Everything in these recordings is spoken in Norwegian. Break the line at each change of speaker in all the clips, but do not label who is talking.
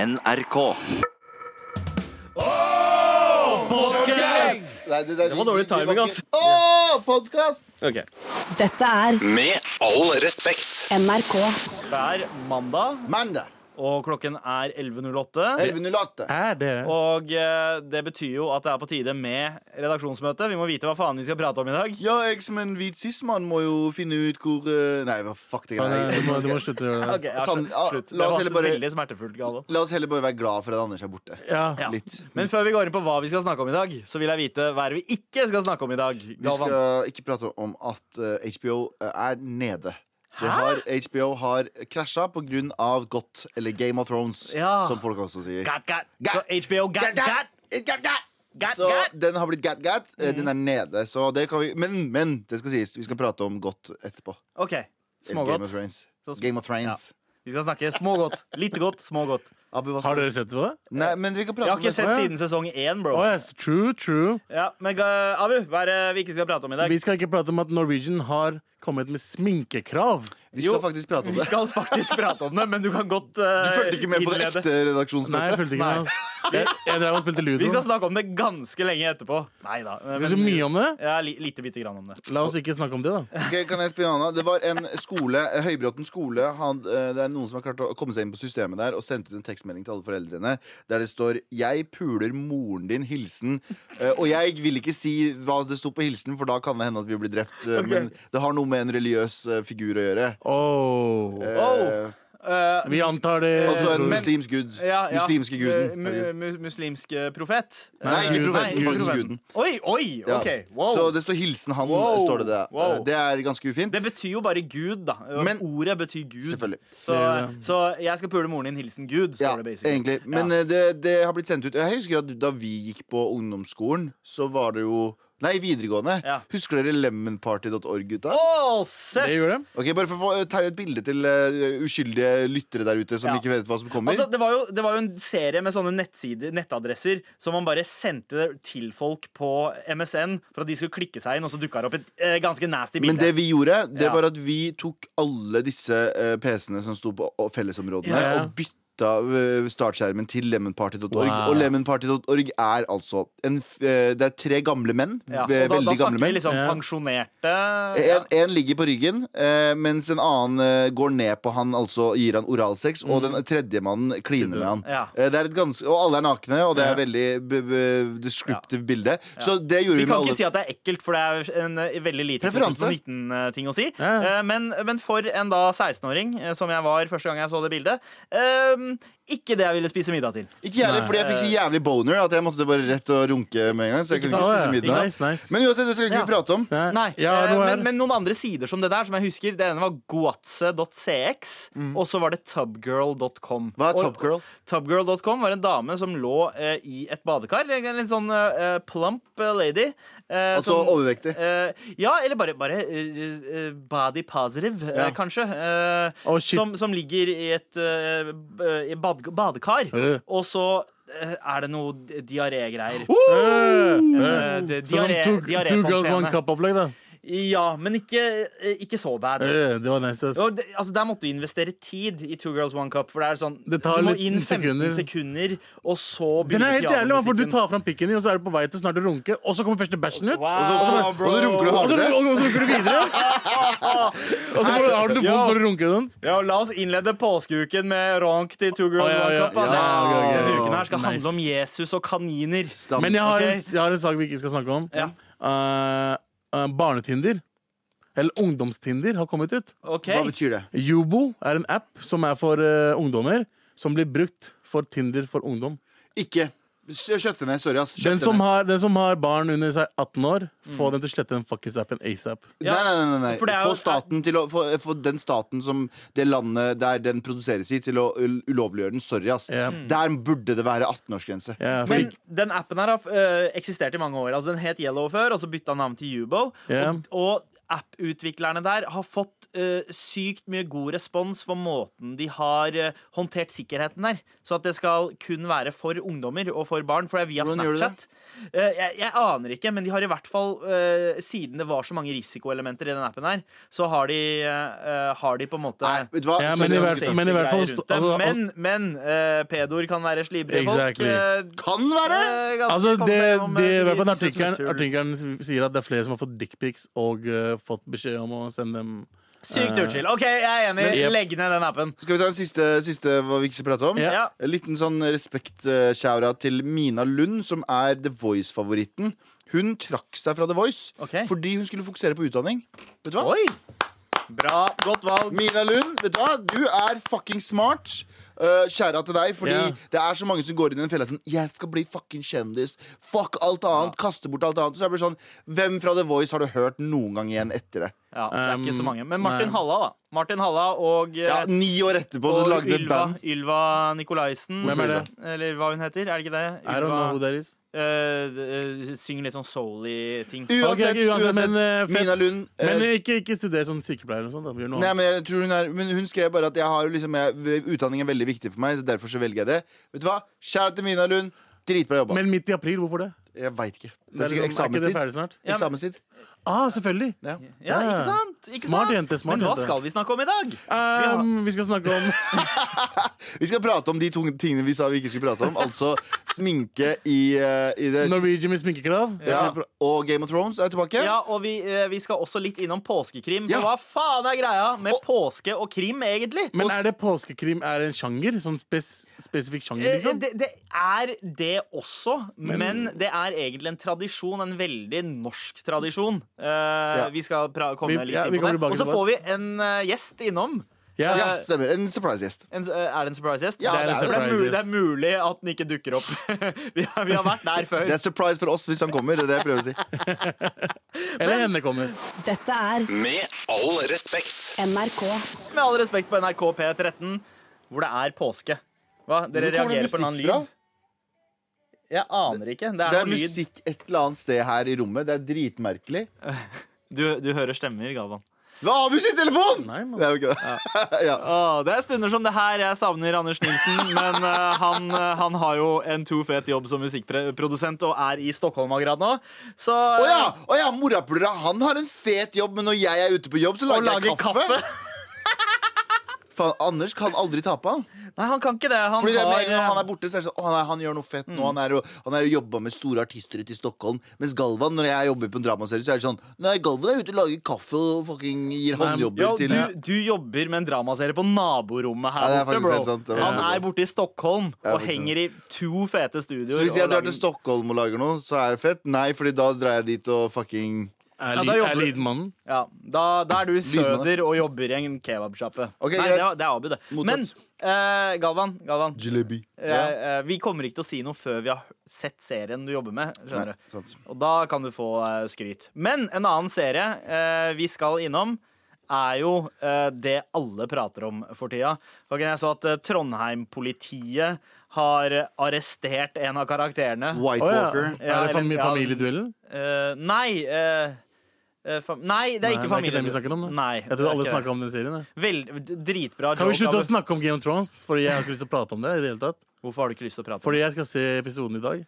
NRK.
Nei, det, det,
var dårlig timing, altså.
Å, podkast!
Ok.
Dette er
Med all respekt.
NRK.
Det er mandag,
Mandag
og klokken er 11.08.
11.08.
Er det?
Og eh, det betyr jo at det er på tide med redaksjonsmøte. Vi må vite hva faen vi skal prate om i dag.
Ja, jeg som en hvit cis-mann må jo finne ut hvor eh, Nei, hva fuck det
Ja, nei, du, må, du må
greier.
slutte å gjøre det.
Ok, ja,
Sånn,
slutt.
ja,
Slutt.
la
Det
oss
var
heller bare-
veldig smertefullt, Galvan.
La oss heller bare være glad for at Anders er borte.
Ja.
Ja.
Litt.
Men før vi går inn på hva vi skal snakke om i dag, så vil jeg vite hva er det vi ikke skal snakke om i dag.
Vi
Galvan.
skal ikke prate om at eh, HBO er nede. Det har, HBO har krasja pga. godt, eller Game of Thrones,
Ja.
som folk også sier.
Gat, gat.
Gat.
Så HBO gat,
Gat, gat.
gat.
Gat, gat.
Gat,
Så
gat. Mm.
den har blitt gat-gat. Den er nede. Så det kan vi, men, men det skal sies, vi skal prate om godt etterpå.
OK.
Game of
Smågodt.
Thrones.
Så sm-
Game of Thrones.
Vi skal snakke smågodt. Lite godt, smågodt.
Abu, hva
Har
skal
dere sett det på det?
Nei, men vi kan
Jeg
prate
har
om det.
ikke sett siden sesong én, bro.
Å, yes. True, true.
Ja, men eh, Abu, hva er det vi ikke skal prate om i dag?
Vi skal ikke prate om at Norwegian har kommet med sminkekrav.
Vi skal
Jo,
faktisk prate om
Vi
det.
skal faktisk prate om det, men du kan godt
Du
eh,
fulgte ikke med på det
innlede.
ekte
Nei, jeg
redaksjonsmøtet?
fulgte ikke
Nei.
med. ass. Jeg, jeg drev og spilte ludo.
Vi skal snakke om det ganske lenge etterpå. Nei da.
Skal vi så mye om det?
Ja, li, lite bitte grann om det.
La oss ikke snakke om det, da.
Ok, kan jeg spille Anna? Det var en skole, eh, Høybråten skole han, eh, Det er noen som har klart å komme seg inn på systemet der og sendt ut en tekstmelding til alle foreldrene der det står 'Jeg puler moren din. Hilsen'. Eh, Og jeg vil ikke si hva det sto på hilsen, for da kan det hende at vi blir drept. eh, Men det har noe med en religiøs eh, figur å gjøre.
Oh.
Eh,
Eh,
Vi antar det.
Altså en
men-
muslimsk gud.
ja, ja.
Muslimske
Eh,
guden.
mu, mu, muslimsk eh, profet?
Nei, ikke
Gud.
profeten,
Nei,
faktisk
profeten.
guden.
Oi, oi!
Ja.
OK. Wow.
Så det står 'hilsen han',
Wow.
står det der.
Wow.
Eh, Det er ganske ufint.
Det betyr jo bare Gud, da.
Men-
Ordet betyr Gud.
Selvfølgelig.
Så,
Det gjør det.
så jeg skal pule moren din. Hilsen Gud, står
Ja,
det basically.
egentlig. Men eh, det, det har blitt sendt ut. Jeg husker at da vi gikk på ungdomsskolen, så var det jo Nei, videregående.
Ja.
Husker dere lemonparty.org, gutta?
Å,
Det
seff!
gjorde det.
Ok, Bare for å få- tegne et bilde til eh, uskyldige lyttere der ute som
Ja.
ikke vet hva som kommer.
Altså, det, var jo, det var jo en serie med sånne nettsider, nettadresser som man bare sendte til folk på MSN for at de skulle klikke seg inn, og så dukka det opp et eh, ganske nasty bilde.
Men det vi gjorde, det
Ja.
var at vi tok alle disse eh, PC-ene som sto på å- fellesområdene,
Ja.
og bytta eh, startskjermen til lemonparty.org.
Wow.
Og lemonparty.org er altså en, f- eh, Det er tre gamle menn.
Ja, og
ve-
da, da
veldig gamle
snakker vi
menn.
liksom
Ja.
pensjonerte
En, en ligger på ryggen, eh, mens en annen eh, går ned på han, altså gir han oralsex, og den tredje mannen kliner med han.
Mm. Ja.
Eh, det er et gans og alle er nakne, og det er
Ja.
veldig b b descriptive bilde. Så det gjorde
Vi
vi med
kan ikke
alle.
si at det er ekkelt, for det er en eh, veldig lite
Preferanse.
2019-ting å si.
Ja.
Eh, Men, men for en da 16-åring, eh, som jeg var første gang jeg så det bildet, eh, ikke det jeg ville spise middag til.
Ikke jeg heller, fordi jeg fikk
eh,
så jævlig boner at jeg måtte bare rett og runke med en gang. Så jeg kunne
sant?
ikke
Å, ja.
spise middag.
Nice, nice.
Men uansett, det skal ikke
Ja.
vi prate om.
Nei.
Nei,
Ja,
eh,
noe er.
men, men noen andre sider som det der, som jeg husker. Det ene var goatse.cx, og så var det tubgirl.com.
Mm. Hva er
Og-
Topgirl?
Tubgirl.com var en dame som lå eh, i et badekar. En litt sånn eh, plump eh, lady. eh,
Altså overvektig.
eh, ja, eller bare, bare eh, eh, body positive, eh,
Ja.
kanskje. eh,
Å, Oh, shit.
som, som ligger i et eh, b- eh, i bad, badekar,
Øh.
og så eh, er det noe di- diarégreier.
Øh, øh.
Eh, det-
Sånn
diaré-
two, two girls, one
diaréfontene.
cup-opplegg, da.
Ja, men ikke, eh, ikke så bad.
Øh, det var nice. ass.
Og det, altså der måtte du investere tid i Two Girls One Cup. For det er sånn
Det tar
Du må
litt
inn 15
sekunder.
sekunder, og så
Den er helt jævlig, for du
pianomusikken.
tar fram pikken din, og så er du på vei til snart å runke, og så kommer første bæsjen ut.
Wow,
Og så, og
bro.
så runker du
Og så,
hardere.
og, og så runker du videre. og så får du- har du vondt
Ja.
når du runker og sånt.
Ja, La oss innlede påskeuken med ronk til Two Girls
Å, ja,
One
ja,
Cup. da.
ja, ja, ja, ja, ja.
Denne uken her skal
Nice.
handle om Jesus og kaniner.
Stam.
Men jeg har, en,
Ok.
jeg har en sak vi ikke skal snakke om.
Ja.
Eh, eh, barnetinder. Eller ungdomstinder har kommet ut.
Ok
Hva betyr det?
Yubo er en app som er for eh, ungdommer, som blir brukt for Tinder for ungdom.
Ikke Kjø- kjøtte ned. Sorry, ass. Kjøtte
Den som,
ned.
har, den som har barn under seg 18 år,
Mm.
få dem til å slette den fuckings appen asap.
Nei, nei, nei, nei.
For det er jo-
Få staten til å få, få den staten som det landet der den produseres i, til å ul- ulovliggjøre den. Sorry, ass.
Ja.
Der burde det være 18-årsgrense.
Ja, for
Men
ikke-
den eh, appen her har øh, eksistert i mange år. Altså Den het Yellow før, og så bytta den navn til Yubo.
Ja.
Og, og apputviklerne der har fått eh, sykt mye god respons for måten de har eh, håndtert sikkerheten der. Så at det skal kun være for ungdommer og for barn, for det er via
Hvordan gjør du
Snapchat. Eh, jeg, jeg aner ikke, men de har i hvert fall, eh, siden det var så mange risikoelementer i den appen her, så har de, eh, har de på en måte
Nei, vet du hva?
Ja,
Sorry,
men i
jeg
hvert
skal
men i hvert fall
greier rundt det.
altså,
Men, men eh, pedoer kan være slibrige
Exactly.
folk.
ta- Kan være!
eh, ganske-
Altså,
kan
det,
seg gjennom, eh,
det, i hvert fall
disse
artikkelen
smutthull.
artikkelen sier at det er flere som har fått dickpics og eh, fått beskjed om å sende dem
Sykt
Eh,
uchill. OK, jeg er enig.
Men-
Legg ned den appen.
Skal vi ta en siste, siste hva vi ikke skal prate om?
Ja.
Ja.
En liten sånn respekt-shoura til Mina Lund, som er The Voice-favoritten. Hun trakk seg fra The Voice
Ok.
fordi hun skulle fokusere på utdanning. Vet du hva?
Oi! Bra. Godt valg.
Mina Lund, vet du hva? Du er fucking smart. Uh, kjære til deg, fordi
Ja.
det er så mange som går inn i den fella sånn Jeg skal bli fucking kjendis. Fuck alt annet. Kaste bort alt annet. Så jeg blir sånn Hvem fra The Voice har du hørt noen gang igjen etter det?
Ja, det er ikke
Um,
så mange. Men Martin
nei.
Halla, da. Martin Halla og, eh,
Ja, Ni år etterpå så
og
lagde hun et
Ylva,
band.
Ylva Nikolaisen.
Hvem er det?
Eller hva hun heter. Er det ikke det?
I don't know who that is.
eh, eh, synger litt sånn soul-y ting.
Uansett,
Ok, ok, uansett,
uansett,
men, eh, fett.
Mina Lund eh,
Men ikke, ikke studer som sykepleier eller noe sånt. Da blir det noe
Nei,
annet.
men jeg tror hun er Men hun skrev bare at jeg har jo liksom jeg, Utdanning er veldig viktig for meg, så derfor så velger jeg det. Vet du hva? Kjære til Mina Lund. Dritbra jobba.
Men midt i april, hvorfor det?
jeg veit ikke.
Det
Det er
liksom-
sikkert
ikke det
eksamenstid.
ferdig snart?
Ja, men-
Eksamenstid.
Ah, selvfølgelig.
Ja.
Ja,
Ja.
ikke sant? Ikke
Smart
sant?
jente, smart
Men hva
jente.
skal vi snakke om i dag? har-
Um, vi skal snakke om
Vi skal prate om de to tingene vi sa vi ikke skulle prate om. Altså sminke i, eh, i det
Norwegian med sminkekrav.
ja, Og Game of Thrones er tilbake.
Ja, og vi, eh, vi skal også litt innom påskekrim.
Ja.
For hva faen er greia med påske og krim, egentlig?
Men er det påskekrim er en sjanger? Sånn spes spesifikk sjanger,
Eh,
liksom?
Det, det er det også, men, det er egentlig en tradisjon. En veldig norsk tradisjon. Eh, Vi skal pra komme
Vi-
litt
ja, vi
inn på
kommer
det.
tilbake
Og så
til det.
får vi en eh, gjest innom.
Ja.
Ja, stemmer. En surprise-gjest.
En, eh, er det en surprise-gjest?
Ja, Det er en
det, er
surprise
mulig-
gjest.
det er mulig at den ikke dukker opp. vi, har, vi har vært der før.
Det er surprise for oss hvis han kommer. Det er det jeg prøver å si.
Eller henne kommer.
Dette er
Med all respekt.
NRK.
Med all respekt på NRK P13, hvor det er påske. Hva? Dere
Hvor kommer det
reagerer på en annen
musikk fra?
lyd? Jeg aner ikke. Det er,
Det er
noe lyd.
musikk et eller annet sted her i rommet. Det er dritmerkelig.
Du, du hører stemmer, Galvan.
Hva har vi sin telefon?!
Nei, man.
Det er jo ikke det. Ja.
Åh, det er stunder som det her jeg savner Anders Nilsen, men eh, han, eh, han har jo en to fet jobb som musikkprodusent og er i Stockholm akkurat nå. Så eh,
Å ja! Å ja, morapulere. Han har en fet jobb, men når jeg er ute på jobb, så
Og
lager
lager
jeg kaffe.
kaffe.
Faen, Anders kan aldri tape, han.
Nei, han kan ikke det. Han
Fordi det er med en gang han
har eh,
er
Mm.
borte, så er det sånn Å, nei, han gjør noe fett nå. Han er, jo- han er jo jobba med store artister ute i Stockholm. Mens Galvan, når jeg jobber på en dramaserie, så er det sånn Nei, Galvan er ute og lager kaffe og fucking gir håndjobber
ja,
til
eh, du, du jobber med en dramaserie på naborommet
Ja,
her
det er
borte,
faktisk
bro.
helt sant. Det var-
Han er borte i Stockholm
Ja,
og
faktisk
henger i to fete studioer.
Så hvis jeg
og
drar
lager-
til Stockholm og lager noe, så er det fett? Nei, fordi da drar jeg dit og fucking
Er,
Ja,
li
da jobber
er
du-
Lidenmannen.
ja, da, da er du i
Lydmannen.
søder og jobber i en kebabsjappe.
Ok,
Nei,
greit.
det er, det er Abu, det.
Mottatt.
Men eh, Galvan, Galvan
Jalebi.
eh, eh, vi kommer ikke til å si noe før vi har sett serien du jobber med.
Nei,
Skjønner du?
sant.
Og da kan du få eh, skryt. Men en annen serie eh, vi skal innom, er jo eh, det alle prater om for tida. Ok, jeg så at eh, Trondheim-politiet har eh, arrestert en av karakterene.
White
Å, ja.
Walker.
Ja,
Er det
eller-
fami
ja.
familieduellen?
Eh, nei eh, eh, fam nei, det er
Nei,
ikke
det er ikke
familien.
det vi snakker om. Da.
Nei,
jeg trodde alle
det er ikke det.
snakka om den serien. jeg.
Vel, d- dritbra
Kan vi
joke,
slutte å
Abu.
snakke om Game of Thrones? Fordi jeg har ikke lyst til å prate om det. i det hele tatt
Hvorfor har du ikke lyst til å prate om
Fordi jeg skal se episoden i dag.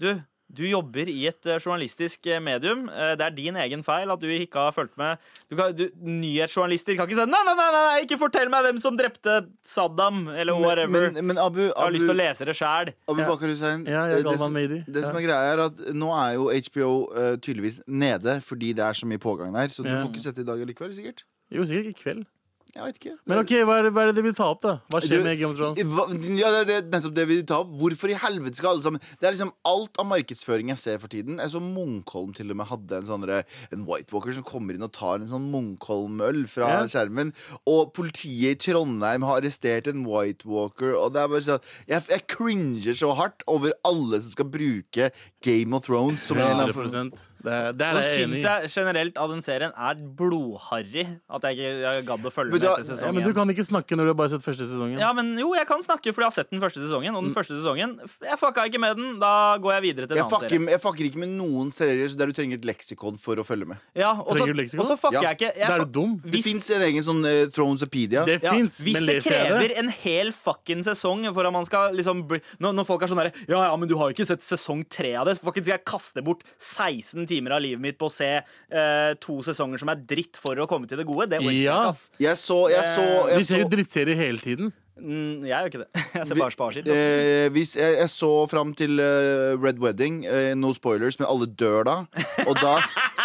Du, du jobber i et eh, journalistisk eh, medium. Eh, Det er din egen feil at du ikke har fulgt med. Du kan, du, nyhetsjournalister kan ikke si nei, nei, nei, nei, nei, ikke fortell meg hvem som drepte Saddam, eller
Men,
whatever.
men, men Abu,
jeg har lyst til
Abu,
å lese det sjæl.
Abu
Ja.
Bakar Hussein
Ja, jeg er
eh, det,
Galvan
som,
Mehdi.
det som
Ja.
er greia, er at nå er jo HBO eh, tydeligvis nede fordi det er så mye pågang der. Så du
Ja.
får ikke sett det i dag likevel, sikkert.
Jo, sikkert i kveld.
Jeg vet ikke.
Men ok, hva er det, hva er det de vil ta opp, da? Hva skjer
Du-
med Game of Thrones?
Hva, ja, det, det er nettopp det vi tar opp. Hvorfor i helvete skal alle sammen Det er liksom alt av markedsføring jeg ser for tiden. Jeg så Munkholm til og med hadde en sånn derre- En White Walker som kommer inn og tar en sånn Munkholm-øl fra
Ja.
skjermen. Og politiet i Trondheim har arrestert en White Walker, og det er bare sånn Jeg, jeg cringer så hardt over alle som skal bruke Game of Thrones som en eller annen form
100 Det, det er
Nå
det jeg er enig
syns
i.
jeg generelt av den serien er blodharry. At jeg ikke jeg gadd å følge
Men
med
da-
etter
Ja,
sesong
men du
én.
kan ikke snakke når du har bare sett første sesongen.
Ja, men jo, jeg kan snakke, for jeg har sett den første sesongen.
Mm.
Og den første sesongen Jeg fucka ikke med den. Da går jeg videre til en
Jeg
annen
fucker,
serie.
jeg fucker ikke med noen serier der du trenger et leksikon for å følge med.
Ja, og så
Trenger du leksikon?
og så fucker
Ja.
jeg ikke.
Da
Jeg,
er du dum.
Det
hvis,
fins en egen sånn eh, Thronesopedia.
Det
ja,
fins,
hvis
men
det
leser jeg
krever
det?
en hel fucking sesong for at man skal liksom bli, når, når folk er sånn derre Ja, ja, men du har jo ikke sett sesong tre av det. så Fucking skal jeg kaste bort 16 timer av livet mitt på å se eh, to sesonger som er dritt, for å komme til det gode? Det orker jeg
Ja.
ikke, ass.
Jeg så, jeg så,
Vi
jeg
ser jo
så
drittserier hele tiden.
Mm, jeg gjør ikke det. Jeg ser
Vi-
bare altså. sparskitt. ass.
Eh, hvis, jeg, jeg så fram til eh, Red Wedding. Eh, no spoilers, men alle dør da. Og da,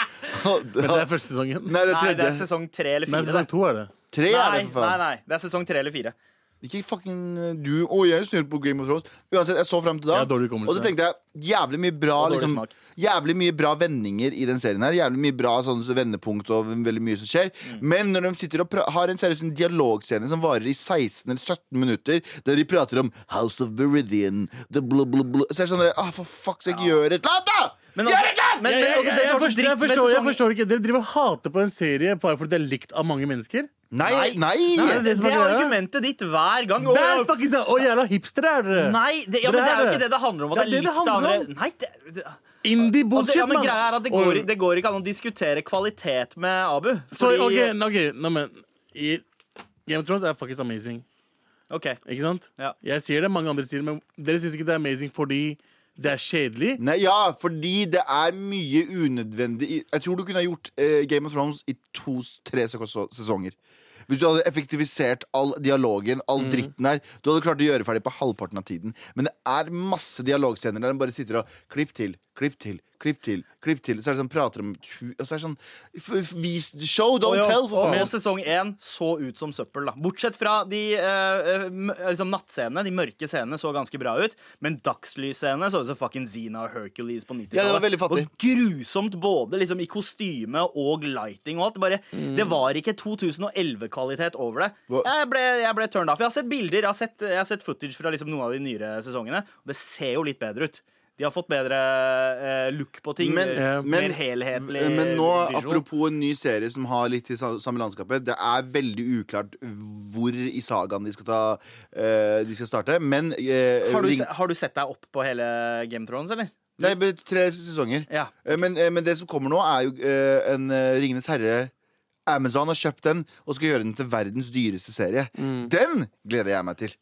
og
Men det
da
er første sesongen.
Nei, det er
Nei, det
tredje.
er sesong tre eller
Nei,
fire.
sesong
det.
to er det.
Tre er
Nei,
det, for
nei,
faen.
nei, det er sesong tre eller fire.
Ikke fucking eh, du. Å, jeg er snill på Game of Thrones. Uansett, jeg så frem til da.
Jeg har dårlig hukommelse.
og så tenkte jeg jævlig mye bra
Og dårlig
liksom,
smak.
Jævlig mye bra vendinger i den serien her. Jævlig mye bra sånn, så vendepunkt og veldig mye som skjer.
Mm.
Men når de sitter og pra- har en seriøs en dialogscene som varer i 16 eller 17 minutter, der de prater om House of Beridian the blah, blah, blah. Så er det sånn der, ah, For fuck sake, gjør et eller annet, da!
Men
gjør
altså-
et eller annet!
men-
Jeg, jeg,
også det som var
jeg,
så
forstår,
dritt
jeg,
med
forstår, jeg
sesongen-
forstår ikke Dere driver og hater på en serie bare fordi det er likt av mange mennesker.
Nei, nei!
Nei,
Det
det som er
er
greia.
argumentet ditt hver gang.
Det er
Åh,
fucking sånn, Å, jævla hipstere er dere!
Nei, det, ja,
Dere
men det er jo
det.
ikke det det handler om. At det
Det er
er
det det
likt det
handler
andre.
om.
Nei, det, det,
Indie
Og det,
bullshit,
Altså, ja, men
mann.
greia er at det
Og-
går, det går ikke an å diskutere kvalitet med Abu.
Så
Fordi,
OK, nå, ok, nå, men i Game of Thrones er fuckings amazing.
ok.
Ikke sant?
Ja.
Jeg sier det, mange andre sier det, men dere syns ikke det er amazing fordi det er kjedelig.
Nei, ja, fordi det er mye unødvendig i- Jeg tror du kunne ha gjort eh, Game of Thrones i to-tre sesonger. Hvis du hadde effektivisert all dialogen, all dritten der. Du hadde klart å gjøre ferdig på halvparten av tiden. Men det er masse dialogscener der de bare sitter og Klipp til, klipp til, klipp til. klipp til Så er det sånn, prater om tu- Og så er det sånn f f Vis Show, Oh, don't
Og, jo,
tell, for
og, og
faen!
sesong én så ut som søppel, da. Bortsett fra de eh, m- liksom nattscenene. De mørke scenene så ganske bra ut. Men dagslysscenene så ut som fucking Zena og Hercules på 90-tallet.
Ja, det var veldig fattig.
Og grusomt både liksom, i kostyme og lighting og alt. Bare, Det var ikke 2011-kvalitet over det.
Mm. Hva-
Jeg ble, jeg ble turned off. Jeg har sett bilder, jeg har sett, jeg har sett footage fra liksom, noen av de nyere sesongene. Og det ser jo litt bedre ut. De har fått bedre eh, look på ting.
Men,
eh,
men,
mer helhetlig
men nå,
visual.
apropos en ny serie som har litt i sa- samme landskapet Det er veldig uklart hvor i sagaen de skal, ta, eh, de skal starte. Men eh,
Har du,
ring-
se- har du sett deg opp på hele Game of Thrones, eller?
Nei, bare tre sesonger.
Ja.
Eh, Men, eh, men det som kommer nå, er jo eh, en eh, Ringenes herre Amazon har kjøpt den og skal gjøre den til verdens dyreste serie.
Mm.
Den gleder jeg meg til.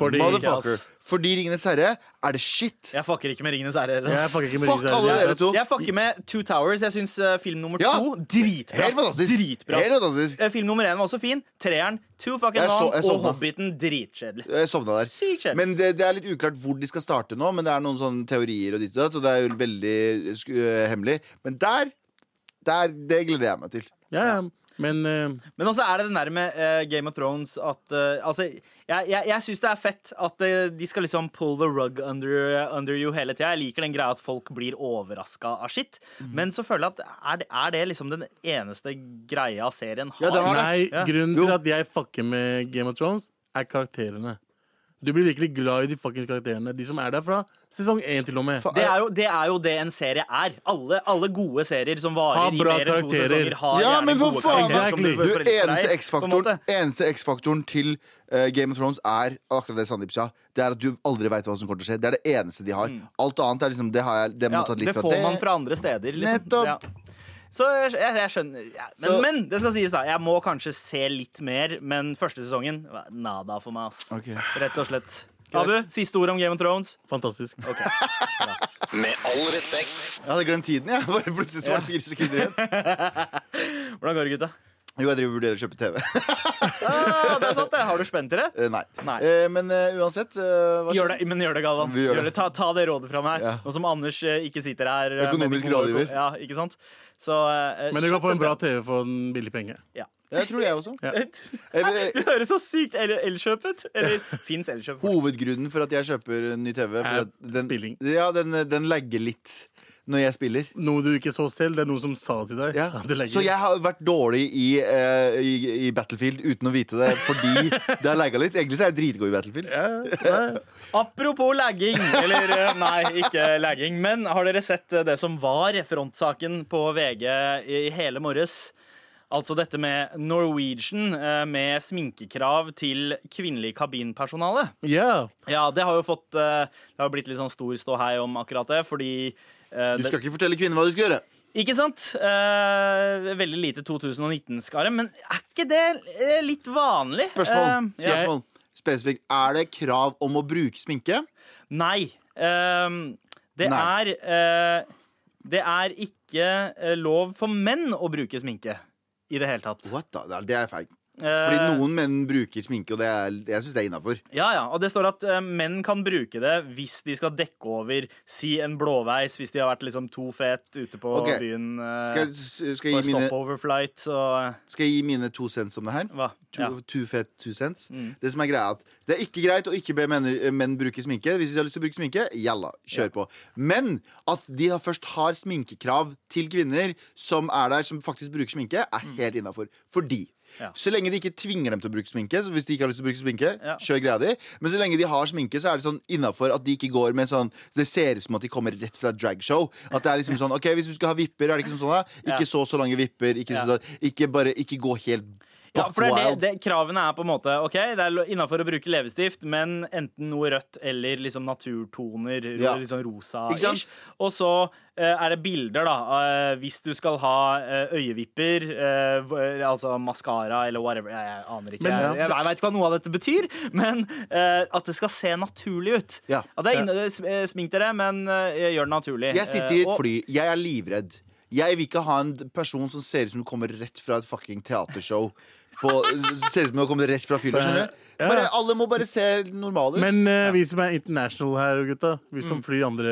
Fordi
Motherfucker. Fordi Ringenes herre er det shit.
Jeg fucker ikke med Ringenes herre. ass.
Jeg fucker ikke med
Fuck
Ringenes
alle
herre.
dere to.
Jeg fucker med Two Towers. Jeg syns eh, film nummer
Ja.
to dritbra.
Helt fantastisk.
Dritbra.
Helt fantastisk.
Eh, Film nummer én var også fin. Treeren, Two fucking
Jeg så-
Long
jeg
og
sovna.
Hobbiten dritkjedelig.
Jeg sovna der.
Sykt kjedelig.
Men det, det er litt uklart hvor de skal starte nå, men det er noen sånne teorier og ditt og datt, og det er jo veldig sku- eh, hemmelig. Men der, der Det gleder jeg meg til.
Ja, ja. Men eh,
Men også er det den der med eh, Game of Thrones at eh, Altså, jeg, jeg, jeg syns det er fett at eh, de skal liksom pull the rug under, under you hele tida. Jeg liker den greia at folk blir overraska av shit. Men så føler jeg at er det, er det liksom den eneste greia serien har?
Ja, det har det.
Nei,
Ja.
grunnen
Jo.
til at jeg fucker med Game of Thrones, er karakterene. Du blir virkelig glad i de fucking karakterene. De som er der fra sesong én til og med.
Fa-
Det er, jo, det er jo det en serie er. Alle, alle gode serier som varer
Ha
i
bra
mer enn to
karakterer.
sesonger, har
Ja,
gjerne
men for
gode
faen,
karakterer som
exactly.
du
Du,
forelsker deg i, på
eneste
en måte.
X-faktoren Eneste X-faktoren til eh, Game of Thrones er akkurat det Sandeep sa. Det er at du aldri veit hva som kommer til å skje. Det er det eneste de har. Alt annet er liksom Det har jeg Det må
Mm. Ja,
ta litt
det
fra
får
liksom det.
man fra andre steder. Liksom.
Nettopp.
Ja. Så jeg, jeg, jeg skjønner ja. men,
Så-
men det skal sies, da. Jeg må kanskje se litt mer, men første sesongen var nada for meg. ass
Ok.
Rett og slett. Abu, siste ord om Game of Thrones.
Fantastisk.
Med all respekt.
Jeg hadde glemt tiden, jeg. Bare plutselig så var det fire sekunder igjen.
Hvordan går det, gutta?
Jo, jeg driver og vurderer å kjøpe TV.
Ah, det er sant, det. Har du spent dere?
Eh, Nei.
Nei.
Eh, men eh, uansett eh, hva
Gjør det, men gjør det, Galvan.
Vi gjør
Gjør det. Ta, ta det rådet fra meg.
Ja.
Nå som Anders eh, ikke sitter her. eh,
Økonomisk
med de gode-
rådgiver.
Ja, ikke sant? Så, eh,
Men du kan
kjøp
få en
den.
bra TV for en billig penge.
Ja.
Jeg tror jeg også. Eh,
Du høres så sykt el elkjøp ut. Eller fins elkjøp?
Hovedgrunnen for at jeg kjøper en ny TV
Er
for at den,
spilling.
Ja, den, den lagger litt. når jeg spiller.
Noe du ikke så selv, det er noen som sa det til deg.
Ja.
At det legger-
Så jeg har vært dårlig i, eh, i, i Battlefield uten å vite det, fordi det har lagga litt. Egentlig så er jeg dritgod i Battlefield.
ja, nei.
Apropos lagging, eller eh, nei, ikke lagging, men har dere sett eh, det som var frontsaken på VG i i hele morges? Altså dette med Norwegian eh, med sminkekrav til kvinnelig kabinpersonale.
Ja.
Ja, det har jo fått eh, Det har jo blitt litt sånn stor ståhei om akkurat det, fordi eh,
Du
det-
skal ikke fortelle kvinner hva du skal gjøre.
Ikke sant? Eh, veldig lite 2019-skare, men er ikke det eh, litt vanlig?
Spørsmål.
Eh, ja.
Spørsmål. Spesifikt. Er det krav om å bruke sminke?
Nei. Ehm, det
Nei.
er eh, Det er ikke eh, lov for menn å bruke sminke. I det hele tatt.
What da? Det er- Det er feil. Fordi
Eh,
noen menn bruker sminke, og det er, jeg syns det er innafor.
ja, ja, og det står at eh, menn kan bruke det hvis de skal dekke over si en blåveis, hvis de har vært liksom to fet ute på
Ok.
byen eh,
Skal, jeg- skal,
på
jeg
en
gi mine,
stopover flight, så eh,
skal jeg gi mine to cents om det her?
hva?
Two,
Ja. Mm.
two fat, two cents. Det som er greia er at det er ikke greit å ikke be menn, menn bruke sminke. Hvis de har lyst til å bruke sminke, jalla, kjør på. Men at de har først har sminkekrav til kvinner som er der, som faktisk bruker sminke, er helt innafor. Fordi
Mm. Ja.
så lenge de ikke tvinger dem til å bruke sminke, så hvis de ikke har lyst til å bruke sminke,
Ja.
kjør greia di. Men så lenge de har sminke, så er det sånn innafor at de ikke går med sånn Det ser ut som at de kommer rett fra dragshow. At det er liksom sånn OK, hvis du skal ha vipper, er det ikke sånn sånn, da?
Ja.
Ikke så så lange vipper. Ikke,
Ja.
sånn, ikke bare Ikke gå helt
Ja, for det er det,
buck wild.
det, Kravene er på en måte OK, det er innafor å bruke leppestift, men enten noe rødt eller liksom naturtoner. ro-
Ja.
Litt sånn
Ikke sant?
rosa-ish. Og så eh, er det bilder, da. eh, hvis du skal ha eh, øyevipper, eh, v- eller altså maskara eller whatever. Jeg, jeg aner ikke.
Men,
jeg,
ja.
jeg, jeg veit ikke hva noe av dette betyr, men eh, at det skal se naturlig ut.
Ja.
det er inne, s- eh, smink dere, men eh, gjør det naturlig.
Jeg sitter i
Eh,
et
og-
fly. Jeg er livredd. Jeg vil ikke ha en person som ser ut som du kommer rett fra et fucking teatershow. På, ser ut som du kommer rett fra fylla. skjønner du?
Ja.
Bare, alle må bare se normale ut.
Men eh, vi som er international her, gutta, vi som flyr i andre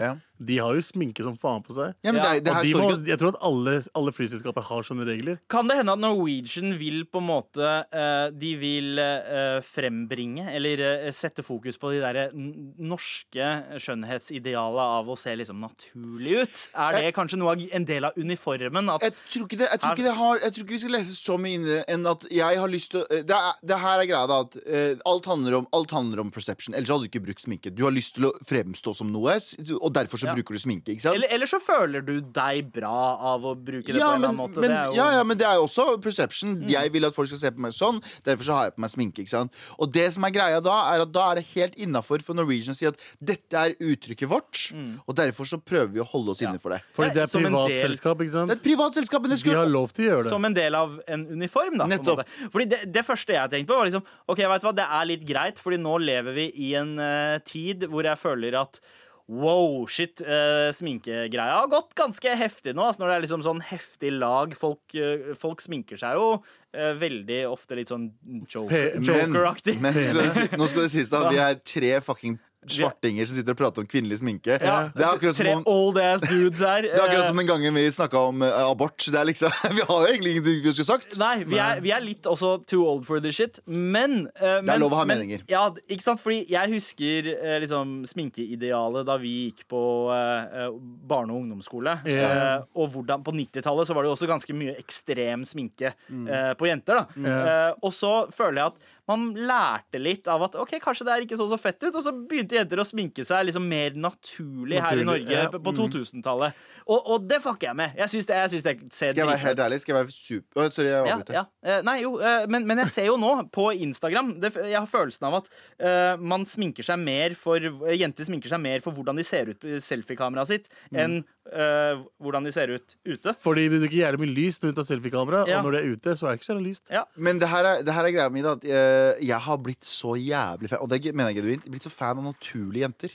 Mm. Ja. Ja.
de har jo sminke som faen på seg.
Ja, men det, er- det
Og
her
de
står
må,
ikke
jeg tror at alle, alle flyselskaper har sånne regler.
Kan det hende at Norwegian vil på en måte eh, De vil eh, frembringe eller eh, sette fokus på de derre n- norske skjønnhetsidealet av å se liksom naturlig ut? Er det kanskje noe av en del av uniformen? At,
jeg tror, ikke det, jeg, tror ikke det har, jeg tror ikke vi skal lese så mye inn i det enn at jeg har lyst til å eh, det, er, det her er greia, da. At, eh, alt, handler om, alt handler om perception. Ellers hadde du ikke brukt sminke. Du har lyst til å fremstå som noe, og derfor så
Ja.
bruker du sminke. ikke sant?
eller, eller så føler du deg bra av å bruke det på en eller annen måte.
Men,
det er jo, Mm.
ja, ja, men det er jo også perception. Jeg vil at folk skal se på meg sånn, derfor så har jeg på meg sminke. ikke sant? Og det som er greia da, er at da er det helt innafor for Norwegian å si at dette er uttrykket vårt, og derfor så prøver vi å holde oss innenfor det.
Fordi
Mm. Ja,
det er
som en del-
privatselskap, ikke
Det er
sant?
et privat selskap, men det
De har
skulle
lov til å gjøre det.
Som en del av en uniform, da. på en
Nettopp.
måte. Fordi det, det første jeg tenkte på, var liksom OK, vet du hva, det er litt greit, fordi nå lever vi i en eh, tid hvor jeg føler at Wow, shit. eh, sminkegreia har gått ganske heftig nå. Altså når det er liksom sånn heftig lag Folk, eh, folk sminker seg jo eh, veldig ofte litt sånn joker-
P- men-
joker-aktig.
Men nå skal det si- nå skal det sies, da. Vi er tre fucking svartinger som sitter og prater om kvinnelig sminke.
Ja,
det er akkurat som
Tre
om
old ass dudes her.
det er akkurat
eh,
som den gangen vi snakka om eh, abort. Det er liksom, vi har jo egentlig ingenting vi skulle sagt.
Nei, vi er, vi er litt også too old for this shit, men eh, men-
lov å ha
men-
meninger.
Ja, d- ikke sant? Fordi jeg husker eh, liksom sminkeidealet da vi gikk på eh, eh, barne- og ungdomsskole.
Ja.
Eh, og hvordan, på 90-tallet så var det jo også ganske mye ekstrem sminke
Mm.
eh, på jenter. da.
Ja.
Eh, og så føler jeg at man lærte litt av at ok, kanskje det her ikke så så fett ut, og så begynte jenter å sminke seg liksom mer naturlig, her i
Naturlig,
Norge
ja.
på-
Mm.
på 2000-tallet. Og, og det fucker jeg med. Jeg syns det, jeg synes det ser
Skal jeg være
dritbra ut.
helt ærlig? Skal jeg være super... Å, sorry, jeg
Ja,
avbryter.
ja. Eh, Nei, jo, eh, men, men jeg ser jo nå på Instagram det, Jeg har følelsen av at eh, man sminker seg mer for eh, jenter sminker seg mer for hvordan de ser ut i selfiekameraet sitt,
Mm.
enn eh, hvordan de ser ut ute.
Fordi du bruker jævlig mye lys når du tar selfiekamera,
Ja.
og når du er ute, så er det ikke så jævlig lyst.
Ja.
Men det her er, det her er greia mi, da. At eh, jeg har blitt så jævlig fan Og det mener jeg genuint. Blitt så fan av naturlige jenter.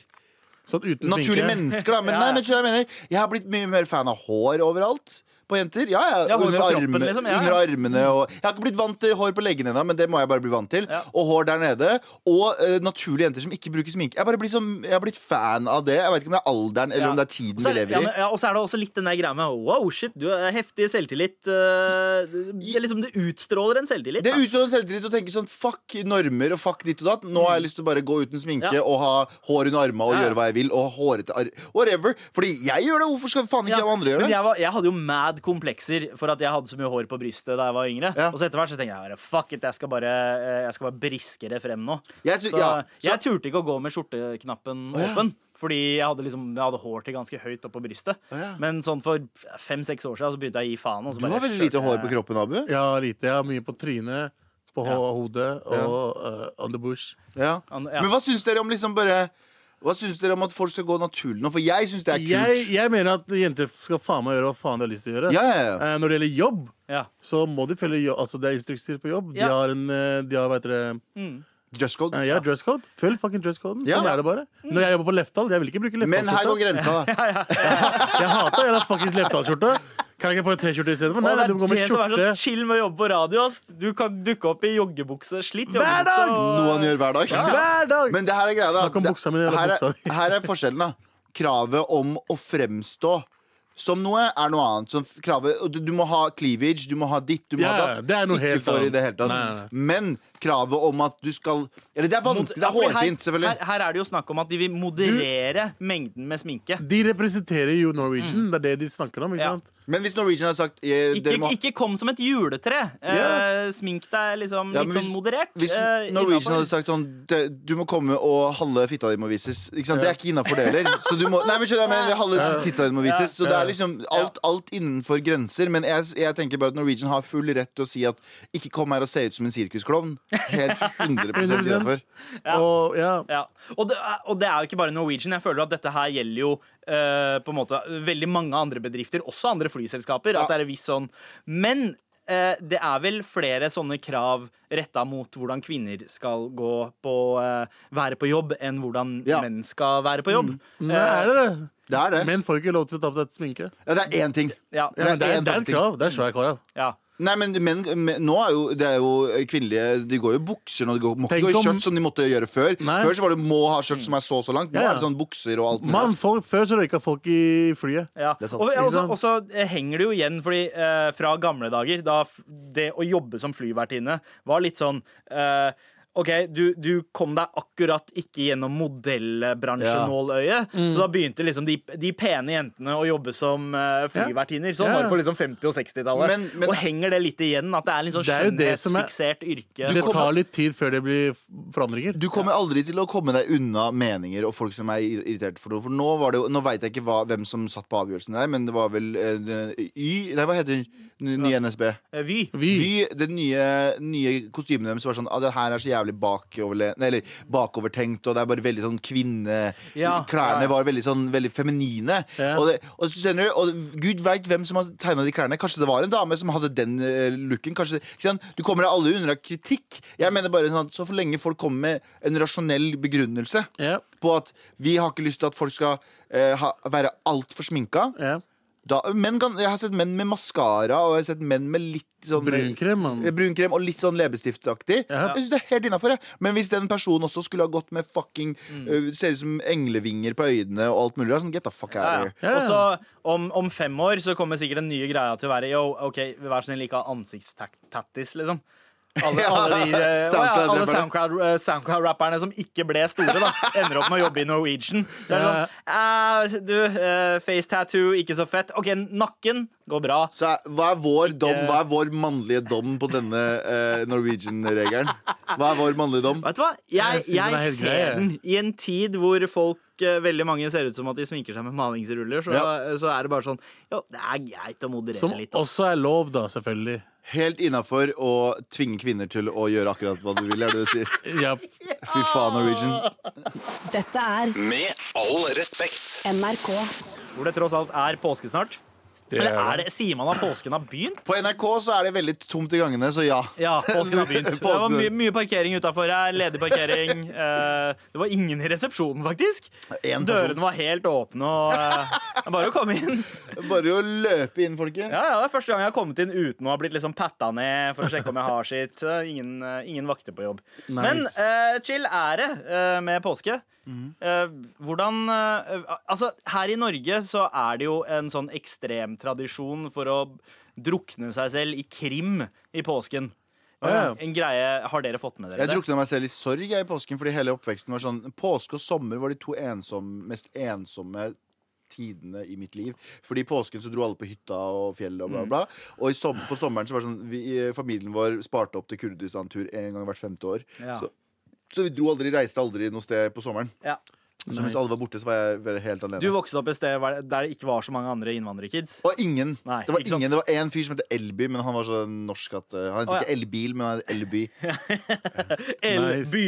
Sånn uten
Naturlige
sminke.
mennesker, da. Men
Ja,
nei,
ja.
men skjønner du hva jeg mener Jeg har blitt mye mer fan av hår overalt. på jenter. Ja, ja,
Ja,
under,
hår på kroppen,
armene,
liksom, ja, ja.
under armene og Jeg har ikke blitt vant til hår på leggene ennå, men det må jeg bare bli vant til.
Ja.
Og hår der nede. Og eh, naturlige jenter som ikke bruker sminke. Jeg, bare blir sånn- jeg har blitt fan av det. Jeg vet ikke om det er alderen eller
Ja.
om det er tiden
Og
vi
så er, det-
lever
ja,
i.
men- ja, og så er det også litt den der greia med wow, shit, du har heftig selvtillit. eh, Det, er liksom, det utstråler en selvtillit.
Det
da.
utstråler selvtillit å tenke sånn fuck normer og fuck ditt og datt. Nå har jeg lyst til å bare gå uten sminke
Mm. Ja.
og ha hår under armene og
Ja, ja.
gjøre hva jeg vil. Og ha hårete ar Whatever. Fordi jeg gjør det. Hvorfor skal faen ikke
Ja,
alle andre gjøre
Men
det?
jeg, var, jeg hadde jo mad komplekser for at jeg hadde så mye hår på brystet da jeg var yngre.
Ja.
Og så etter hvert så tenkte jeg bare fuck it, jeg skal bare, eh, jeg skal bare briske det frem nå.
Jeg sy-
så,
ja, så-
jeg turte ikke å gå med skjorteknappen
ja.
åpen. Fordi jeg hadde, liksom, jeg hadde hår til ganske høyt opp på brystet.
ja.
Men sånn for fem-seks år siden så begynte jeg å gi faen. Og så
Du
bare
har veldig lite
kjørte
hår på
jeg-
kroppen, Abu.
Jeg har lite. Jeg har mye på trynet, på ho- hodet og eh, on the bush.
Ja.
An- ja.
Men hva syns dere om liksom bare Hva syns dere om at folk skal gå naturlig nå? For jeg syns det er
Jeg,
kult.
jeg mener at jenter skal faen meg gjøre hva faen de har lyst til å gjøre.
Ja, ja, ja.
Eh, når det gjelder jobb,
Ja.
så må de følge jobb. Altså, det er instrukser på jobb. De
Ja. Mm.
har en eh, de har, hva heter det,
Dress code.
eh, ja, dresscode. Følg fucking dresscoden.
Ja.
Sånn er det bare.
Mm.
Når jeg jobber på Lefthall, jeg vil ikke bruke
Men her går
Lefthall-skjorte.
grensa, da.
Jeg hater jævla fuckings Lefthall-skjorte. Kan jeg ikke få en T-skjorte istedenfor? Nei,
Og
nei,
det
du må
er
gå
det
med
som er
skjorte.
så chill med å jobbe på radio. Ass. Du kan dukke opp i joggebukse. Slitt
Hver dag!
joggebukse. og-
Noe han gjør hver dag.
Hver dag!
Men det her er greia, da.
Snakk om
Det-
buksa mi, eller
her,
buksa
er,
di.
her er forskjellen, da. Kravet om å fremstå som noe er noe annet. Som f- kravet, og du, du må ha cleavage, du må ha ditt, du må
Ja,
ha
ja,
datt.
det er noe
Ikke
helt
for i
annet.
det hele tatt.
Nei, nei, nei.
Men kravet om at du skal Eller det er vanskelig. Det
Ja,
er
fordi
hårfint,
her,
selvfølgelig.
Her, her er det jo snakk om at de vil moderere mengden med sminke.
De representerer jo Norwegian. Det er det de snakker om.
Mm.
ikke
Ja.
sant?
Men hvis Norwegian har sagt eh,
Ikke,
dere må,
ikke kom som et juletre. Eh, smink deg liksom
Ja,
litt
men
sånn moderert.
Hvis
eh,
Norwegian
innenfor.
hadde sagt sånn «Det- Du må komme og halve fitta di må vises. Ikke sant? Det er ikke innafor det heller. Så du må, nei, men skjønner jeg mener, halve fitta di må vises. Så det er liksom alt, alt innenfor grenser. Men jeg, jeg tenker bare at Norwegian har full rett til å si at ikke kom her og se ut som en sirkusklovn. Helt 100 innafor.
Og ja,
ja. Eh. og, det, er- og det er jo ikke bare Norwegian. Jeg føler at dette her gjelder jo eh, på en måte veldig mange andre bedrifter, også andre flyselskaper. At det er en viss sånn Men eh, det er vel flere sånne krav retta mot hvordan kvinner skal gå på eh, være på jobb, enn hvordan
Ja. Mm.
menn skal være på jobb. Eh,
Nei, er det det?
Det er det.
Menn får ikke lov til å ta på seg sminke.
Ja, det er én ting.
Ja,
Ja, men det, er,
en Mm.
det er et
taktikk.
krav. Det er svært krav.
ja.
Nei, men, men, men nå er jo det er jo kvinnelige De går jo i bukser nå. De går, må
Tenk
ikke gå i
om-
skjørt som de måtte gjøre før.
Nei.
Før så var det må ha skjørt som er så og så langt. Nå
Ja.
er det sånn bukser og alt mulig.
Man, folk, før så røyka folk i flyet.
Ja.
Det er sant.
Og, ja,
Ikke
også,
sant?
også eh, henger det jo igjen, fordi eh, fra gamle dager, da f- det å jobbe som flyvertinne var litt sånn eh, OK, du, du kom deg akkurat ikke gjennom
Ja.
modellbransjenåløyet,
Mm.
så da begynte liksom de, de pene jentene å jobbe som eh, flyvertinner. Sånn
Ja.
var det på liksom 50- og 60-tallet.
Men- men-
og henger det litt igjen, at det er litt sånn
Det er jo det som er-
skjønnhetsfiksert yrke?
Det tar litt tid før det blir f- forandringer.
Du kommer aldri til å komme deg unna meninger og folk som er ir- irritert for noe. For nå var det jo, nå veit jeg ikke hva, hvem som satt på avgjørelsen der, men det var vel eh, Y Nei, hva heter den nye NSB?
Eh, Vy.
Vi,
Vy, det nye, nye kostymene deres var sånn ah, Det her er så jævlig bakoverle- nei, eller, bakovertenkt, og det er bare veldig sånn kvinne
Ja, ja,
Klærne
ja.
var veldig sånn veldig feminine.
Ja.
Og, det, og, så skjønner du, og gud veit hvem som har tegna de klærne. Kanskje det var en dame som hadde den eh, looken. Kanskje, ikke sant? Du kommer deg aldri unna kritikk. Jeg mener bare sånn at Så for lenge folk kommer med en rasjonell begrunnelse
ja,
på at vi har ikke lyst til at folk skal eh, ha, være altfor sminka
ja.
da, menn kan, Jeg har sett menn med maskara og jeg har sett menn med litt sånn
Brunkrem, mann.
Eh, brunkrem og litt sånn leppestiftaktig.
Ja.
Jeg synes det er helt innafor. Men hvis den personen også skulle ha gått med fucking
Mm.
eh, Ser ut som englevinger på øynene og alt mulig, da, sånn, get the fuck out of
Ja,
here.
Ja,
ja.
ja.
Og så om, om fem år så kommer sikkert den nye greia til å være Yo, ok, vær så snill, ikke ha ansiktstattis, liksom. Alle,
Ja,
alle, de, eh, å ja, alle
SoundCloud-rapperne.
SoundCloud, eh, SoundCloud-rapperne som ikke ble store, da, ender opp med å jobbe i Norwegian. Så er det sånn, «Eh, du, eh, face tattoo, ikke så fett. OK, nakken går bra.
Så er- hva er vår dom Hva er vår mannlige dom på denne eh, Norwegian-regelen? Hva er vår mannlige dom?
Vet du hva? Jeg,
Jeg synes den er
jeg,
helt grei,
ser
jeg.
den i en tid hvor folk eh, Veldig mange ser ut som at de sminker seg med malingsruller. Så,
Ja.
så er det bare sånn Jo, det er greit å moderere
Som
litt. ass.»
også er lov, da, selvfølgelig.
Helt innafor å tvinge kvinner til å gjøre akkurat hva du vil, er det du sier?
Ja.
Fy faen, Norwegian.
Dette er
Med all respekt.
NRK.
Hvor det tross alt er påske snart.
Det
Eller
er
er det, sier man at påsken har begynt?
På NRK så er det veldig tomt i gangene, så ja.
Ja, påsken har begynt. Det var
Påsken.
mye, mye parkering utafor her. Ledig parkering. Eh, det var ingen i resepsjonen, faktisk.
En person.
Dørene var helt åpne. og eh, det er Bare å komme inn.
Bare å løpe inn, folkens.
Ja, ja, Det er første gang jeg har kommet inn uten å ha blitt liksom patta ned for å sjekke om jeg har sitt. Eh, Ingen, eh, ingen vakter på jobb.
Nice.
Men eh, chill er det eh, med påske. Eh, hvordan eh, Altså, her i Norge så er det jo en sånn ekstrem tradisjon for å drukne seg selv i krim i påsken. Eh,
ja.
En greie, Har dere fått med dere
Jeg
det?
drukna meg selv i sorg jeg, i påsken, fordi hele oppveksten var sånn Påske og sommer var de to ensomme, mest ensomme tidene i mitt liv. Fordi i påsken så dro alle på hytta og fjellet og bla,
Mm.
bla. Og i som, på sommeren så var det sånn vi, Familien vår sparte opp til Kurdistan-tur en gang hvert femte år.
Ja.
Så, så vi dro aldri, reiste aldri noe sted på sommeren.
Ja.
Så mens alle var borte, så var jeg var jeg helt alene.
Du vokste opp et sted hva- der det ikke var så mange andre innvandrerkids.
og ingen.
Nei,
det var
ikke sant.
ingen, det var en fyr som het Elby, men han var så norsk at uh, Han het
Å, ja.
ikke Elbil, men han het Elby.
Elby.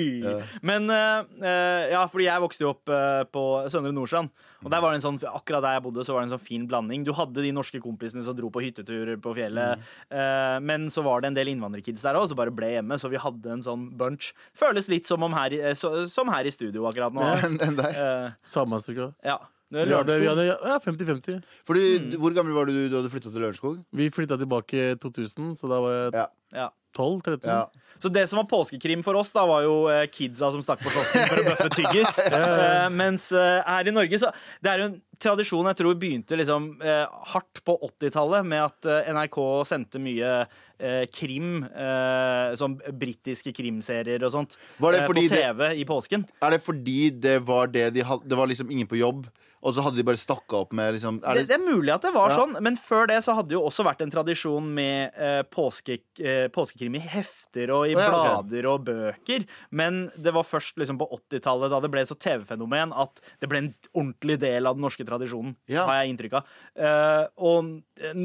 Men eh, eh, ja, fordi jeg vokste jo opp eh, på Søndre Nordstrand. Og der var det en sånn, akkurat der jeg bodde, så var det en sånn fin blanding. Du hadde de norske kompisene som dro på hytteturer på fjellet.
Mm.
eh, men så var det en del innvandrerkids der òg, som bare ble hjemme. Så vi hadde en sånn bunch. Føles litt som, om her, i- eh, så, som her i studio akkurat nå.
Enn enn deg.
Eh,
Samme cirka.
ja.
Vi hadde, vi hadde ja, 50-50.
Fordi,
Mm.
Hvor gammel var du da du hadde flytta til Lørenskog?
Vi flytta tilbake i 2000, så da var jeg
Ja.
12-13.
Ja.
Så det som var påskekrim for oss, da var jo eh, kidsa som stakk på kiosken for å bøffe tyggis. Eh, mens eh, her i Norge så Det er jo en tradisjon jeg tror begynte liksom eh, hardt på 80-tallet, med at eh, NRK sendte mye eh, krim, eh, sånn britiske krimserier og sånt,
Var det
eh,
fordi
på TV i påsken.
Er det fordi det var det de hadde Det var liksom ingen på jobb, og så hadde de bare stakka opp med liksom er
Det, det
det,
er mulig at det var
Ja.
sånn, men før det så hadde jo også vært en tradisjon med eh, påske, eh, påskekrim i hefter og i
ja, ok.
blader og bøker. Men det var først liksom på 80-tallet, da det ble så TV-fenomen, at det ble en ordentlig del av den norske tradisjonen,
Ja.
har jeg inntrykk av. Eh, og n-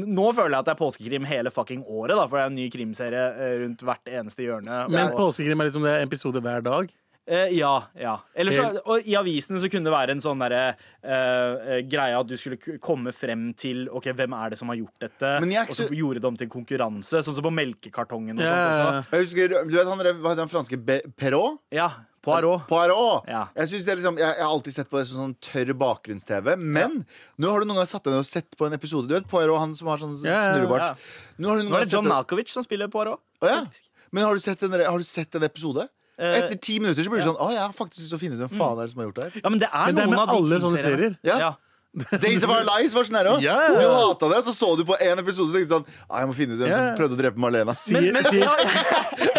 nå føler jeg at det er påskekrim hele fucking året, da, for det er en ny krimserie eh, rundt hvert eneste hjørne.
Men
og-
påskekrim er liksom det er en episode hver dag.
Eh, ja. ja. Eller så,
Helt-
og I avisene så kunne det være en sånn derre eh, eh, greie at du skulle k- komme frem til Ok, hvem er det som har gjort dette,
Men jeg er ikke
og så
så-
gjorde de om til en konkurranse. Sånn som på melkekartongen og
Ja.
sånt også.
Jeg husker, Du vet han, der- hva heter han franske Be Perrault?
Ja. Poirot.
Poirot.
Ja.
Jeg, synes det er liksom, jeg, jeg har alltid sett på det som sånn tørr bakgrunns-TV, men nå har du noen gang satt deg ned og sett på en episode. Du vet Poirot, han som har sånn
Ja, ja,
snurrebart.
ja.
Nå har du noen
Nå
gang
er det John
sett-
Malkovich som spiller Poirot.
Å, ja. Men har du sett en, har du sett en episode?
Eh,
Etter ti minutter så blir det sånn Å, jeg har faktisk lyst til å finne ut hvem faen er det som har gjort det her.
Ja, men det er
Men det er
noen
med
av de
alle sånne
krimseriene.
serier.
Ja.
Ja.
Days of Our Lives var sånn her òg.
Ja, ja, ja.
Du hata det, så så du på én episode og tenkte sånn «Ah, Jeg må finne ut hvem
Ja, ja.
som prøvde å drepe Marlena.
Men,
ja,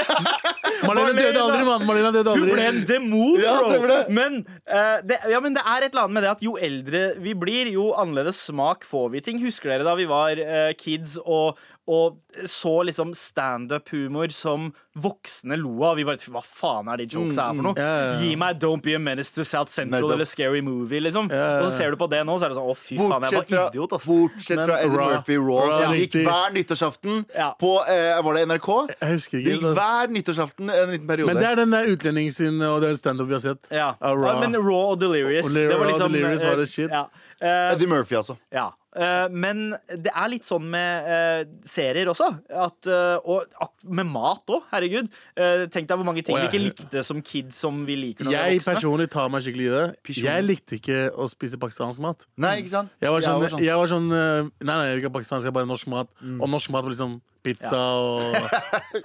Marlene døde aldri, mann. Marlene døde
Hun
aldri.
ble en demon,
Ja,
bro!
stemmer det.
Men, eh, det, ja, men det er et eller annet med det at jo eldre vi blir, jo annerledes smak får vi ting. Husker dere da vi var eh, kids og, og så liksom standup-humor som voksne lo av? Vi bare Hva faen er de jokes her for noe?
Mm, ja, ja, ja.
Gi meg Don't Be a Menace to South Central
Nettopp.
eller Scary Movie, liksom.
ja, ja.
Og så ser du på det nå, så er det sånn Å, fy faen, jeg
Bortsett
var
fra,
idiot, altså.
bortsett fra Eddie
Raw.
Murphy Raw,
Raw,
som
ja.
gikk hver nyttårsaften
Ja.
på eh, Var det NRK?
Jeg husker
Det gikk
ikke.
hver nyttårsaften en liten periode.
Men det er den der utlending sin og den standup vi har sett.
Ja.
Av Ah, Raw.
Men Raw og Delirious.
Og
det
Raw
var
og
liksom
Delirious
eh,
var det shit.
Ja. Eh,
Eddie Murphy, altså.
Ja. eh, men det er litt sånn med eh, serier også. At, eh, og ak med mat òg, herregud. Eh, tenk deg hvor mange ting
Å, ja.
vi ikke likte som kids som vi liker når vi
Jeg
er voksne.
personlig tar meg skikkelig i det. Jeg likte ikke å spise pakistansk mat.
Nei, ikke sant?
Jeg var sånn,
Jeg var sånn.
jeg var sånn eh, Nei, nei, ikke pakistansk, jeg er bare norsk mat. Og norsk mat var liksom pizza og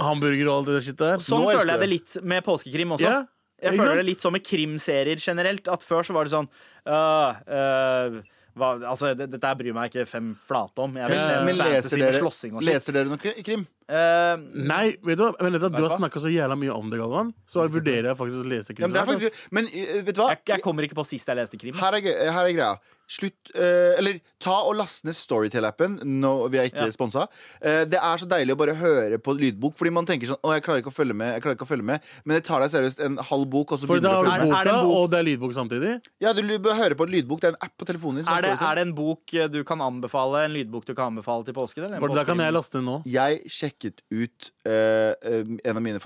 hamburger og alt det der shit der.
Sånn
Nå elsker
føler jeg
jeg
det litt med påskekrim også.
Ja,
Jeg
ikke
føler
sant?
det litt sånn med krimserier generelt. At før så var det sånn øh, øh, hva, Altså, det, dette her bryr meg ikke fem flate om. Jeg vil
Ja,
se
Men
en
leser
fantasy med
dere,
slåssing og shit.
leser dere noe kri- krim?
Eh,
Nei, vet du hva? Men vet du, hva? du har
hva?
snakka så jævla mye om det, Galvan, så jeg vurderer jeg faktisk å lese
Ja, men, det er
krimserier.
faktisk, men eh, vet du hva?
jeg, jeg kommer ikke på sist jeg leste krim. ass.
Her er, gøy- her er greia. Slutt eh, Eller ta og last ned Storytel-appen. Nå- vi er ikke
Ja.
sponsa. Eh, det er så deilig å bare høre på lydbok, fordi man tenker sånn Å, jeg klarer ikke å følge med, jeg klarer ikke å følge med. Men det tar deg seriøst en halv bok, og så
For da
begynner du å
har
følge
du
med.
Er- er det
boka,
en bok?
og det er lydbok samtidig.
Ja, du l- bør høre på en lydbok. Det er en app på telefonen din. Som
Er det,
Storytel.
er det en bok eh, du kan anbefale, en lydbok du kan anbefale til påsken? Eller en
For da kan
påskekrim?
jeg laste den nå.
Jeg sjekket ut eh, eh, en av mine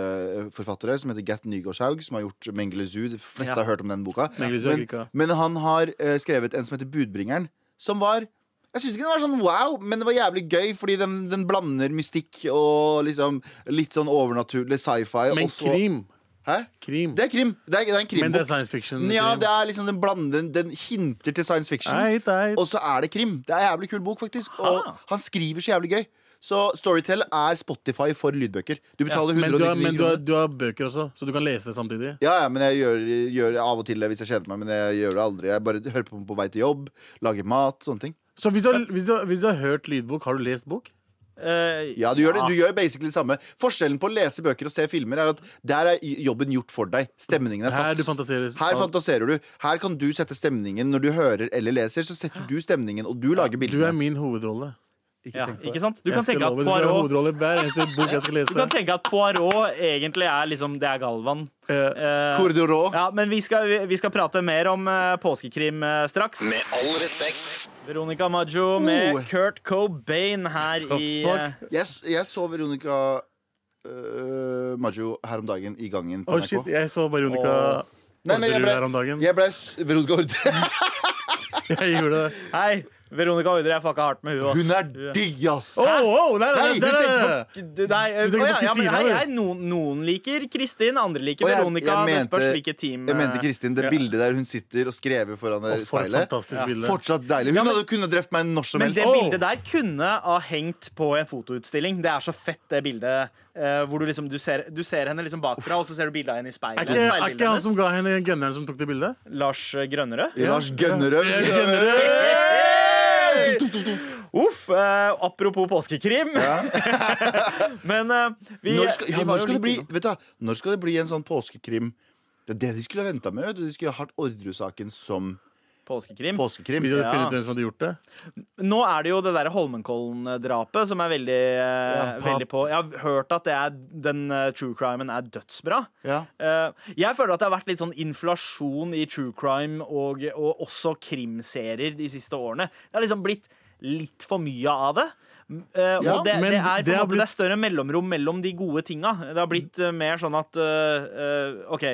favorittforfattere, som heter Gert Nygaardshaug, som har gjort 'Mengele Zoo'. De fleste
Ja.
har hørt om den boka.
Mengele Zoo er
men,
grika.
men han har eh, skrevet en som heter 'Budbringeren', som var Jeg synes ikke det var sånn wow, men det var jævlig gøy, fordi den, den blander mystikk og liksom litt sånn overnaturlig sci-fi.
Men
og så-
krim.
Hæ?
Krim.
Det er krim. Det er, det er en krimbok.
Men det er science fiction.
Ja,
krim.
det er liksom den blander Den hinter til science fiction.
Eit, eit.
Og så er det krim. Det er en jævlig kul bok, faktisk.
Aha.
Og han skriver så jævlig gøy. Så Storytel er Spotify for lydbøker. Du betaler
Men, du har,
199
men du,
kroner.
har, du har bøker også, så du kan lese det samtidig.
Ja, ja, men jeg gjør, gjør det av og til hvis jeg kjeder meg. Men jeg gjør det aldri. Jeg bare hører på den på vei til jobb, lager mat, sånne ting.
Så hvis du, har, hvis, du har, hvis du har hørt lydbok, har du lest bok?
Eh,
Ja, du gjør det, du gjør basically det samme. Forskjellen på å lese bøker og se filmer er at der er jobben gjort for deg. Stemningen er
Her du
satt.
fantaserer.
Her fantaserer du. Her kan du sette stemningen når du hører eller leser. Så setter du stemningen, og du lager
Du er
bildene.
min hovedrolle.
ja, ikke sant? Du
Jeg
kan
skal
tenke at
love deg, du er
Poirot
hovedrolle i hver eneste bok jeg skal
du kan
lese.
tenke at Poirot egentlig er liksom Det er Galvan.
Eh,
Eh,
Cordero.
ja, men vi skal, vi- vi skal prate mer om eh, påskekrim eh, straks.
Med all respekt.
Veronica Maggio med
Oh.
Kurt Cobain her i
fuck?
eh,
Jeg, s- jeg så Veronica øh, Maggio her om dagen i gangen på
Å,
NRK.
shit, jeg så Veronica
Åh.
Nei, men jeg
Orderud
ble-
her om dagen.
Jeg ble s- Veronica Ordre.
Jeg gjorde det.
Hei, Veronica Ordre, jeg fucka hardt med hun, ass.
Hun er digg, ass!
Åh, åh, nei, nei,
Nei,
nei,
du
nei, nei.
Du, nei, eh,
Du
å, ja, ja,
tenker på
men
Kristina,
hei,
du.
hei, noen, noen liker Kristin, andre liker
Og jeg-
Veronica.
jeg
det spørs
mente-
hvilket team
Jeg mente
eh,
Kristin, det
ja.
bildet der hun sitter og skrever foran
Åh,
det
For et
speilet.
fantastisk bilde.
Fortsatt deilig. Hun
Ja, men-
hadde kunnet drept meg når som
Men
helst.
det
Åh.
bildet der kunne ha hengt på en fotoutstilling. Det er så fett, det bildet. eh, hvor du liksom du ser, du ser henne liksom bakfra, og så ser du bildet av henne i speilet.
Er ikke, er
speilbildet
ikke han
hennes.
som ga henne gunneren som tok det bildet?
Eh.
Lars Grønnerød.
Lars Gønnerød.
Jeg skjønner det.
Uff! eh, apropos påskekrim. Men eh, vi
Når skal, ja,
vi var
når
jo
skal det
litt
bli
innom-
Vet du hva, Når skal det bli en sånn påskekrim? Det er det de skulle ha venta med. vet du. De skulle ha hatt Orderud-saken som
påskekrim?
påskekrim.
Hvis du hadde
Ja.
funnet ut hvem som hadde gjort det?
Nå er det jo det derre Holmenkollen-drapet som er veldig, eh,
Ja, pap.
veldig på Jeg har hørt at det er, den eh, true crimen er dødsbra.
Ja.
Eh, jeg føler at det har vært litt sånn inflasjon i true crime og, og også krimserier de siste årene. Det har liksom blitt litt for mye av det. Eh,
Ja,
og det,
men
det, er på en
det har
måte,
blitt-
det er større mellomrom mellom de gode tinga. Det har blitt eh, mer sånn at eh, eh, OK,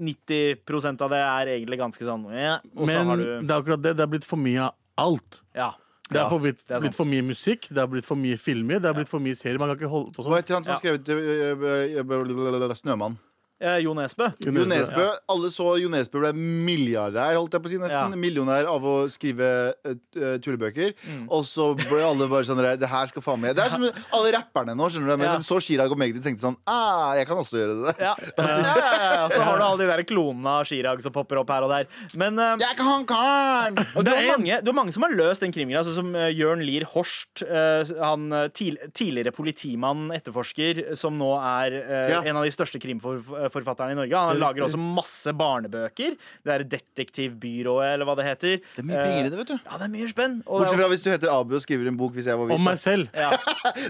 90 av det er egentlig ganske sånn ja, Og så
Men
har
det
du
er akkurat det. Det er blitt for mye av alt.
Ja.
Det er for vidt,
det er sant.
blitt for mye musikk, det er blitt for mye filmer, det er blitt for mye serier. Man kan ikke holde på
Hva
sånn.
heter han som har skrevet øh, øh, øh, Snømann?
Eh, Jo Nesbø.
Jo
Jo
Nesbø.
Nesbø. Alle så Jo Nesbø ble milliardær, holdt jeg på å si, nesten.
Ja.
Millionær av å skrive eh, t- eh, tullebøker.
Mm.
Og så ble alle bare sånn Det her skal faen meg Det er som alle rapperne nå, skjønner du. Men
Ja.
de så Chirag og Magdi tenkte sånn ah, Jeg kan også gjøre det.
Ja. Ja, ja, ja, ja. Så har du alle de der klonene av Chirag som popper opp her og der. Men eh,
Jeg kan han karen!
Og du
Det
har,
er en-
mange, du har mange som har løst den krimgreia, sånn som eh, Jørn Lier Horst. eh, han eh, til, tidligere politimann, etterforsker, som nå er eh,
Ja.
en av de største krimforfatterne i Norge. Han lager også masse barnebøker. Det er Detektivbyrået, eller hva det heter.
Det er mye penger i det, vet du.
Ja, det er mye spenn. Og det er-
Bortsett fra hvis du heter Abu og skriver en bok hvis jeg var
Om
hvit.
meg selv.
da.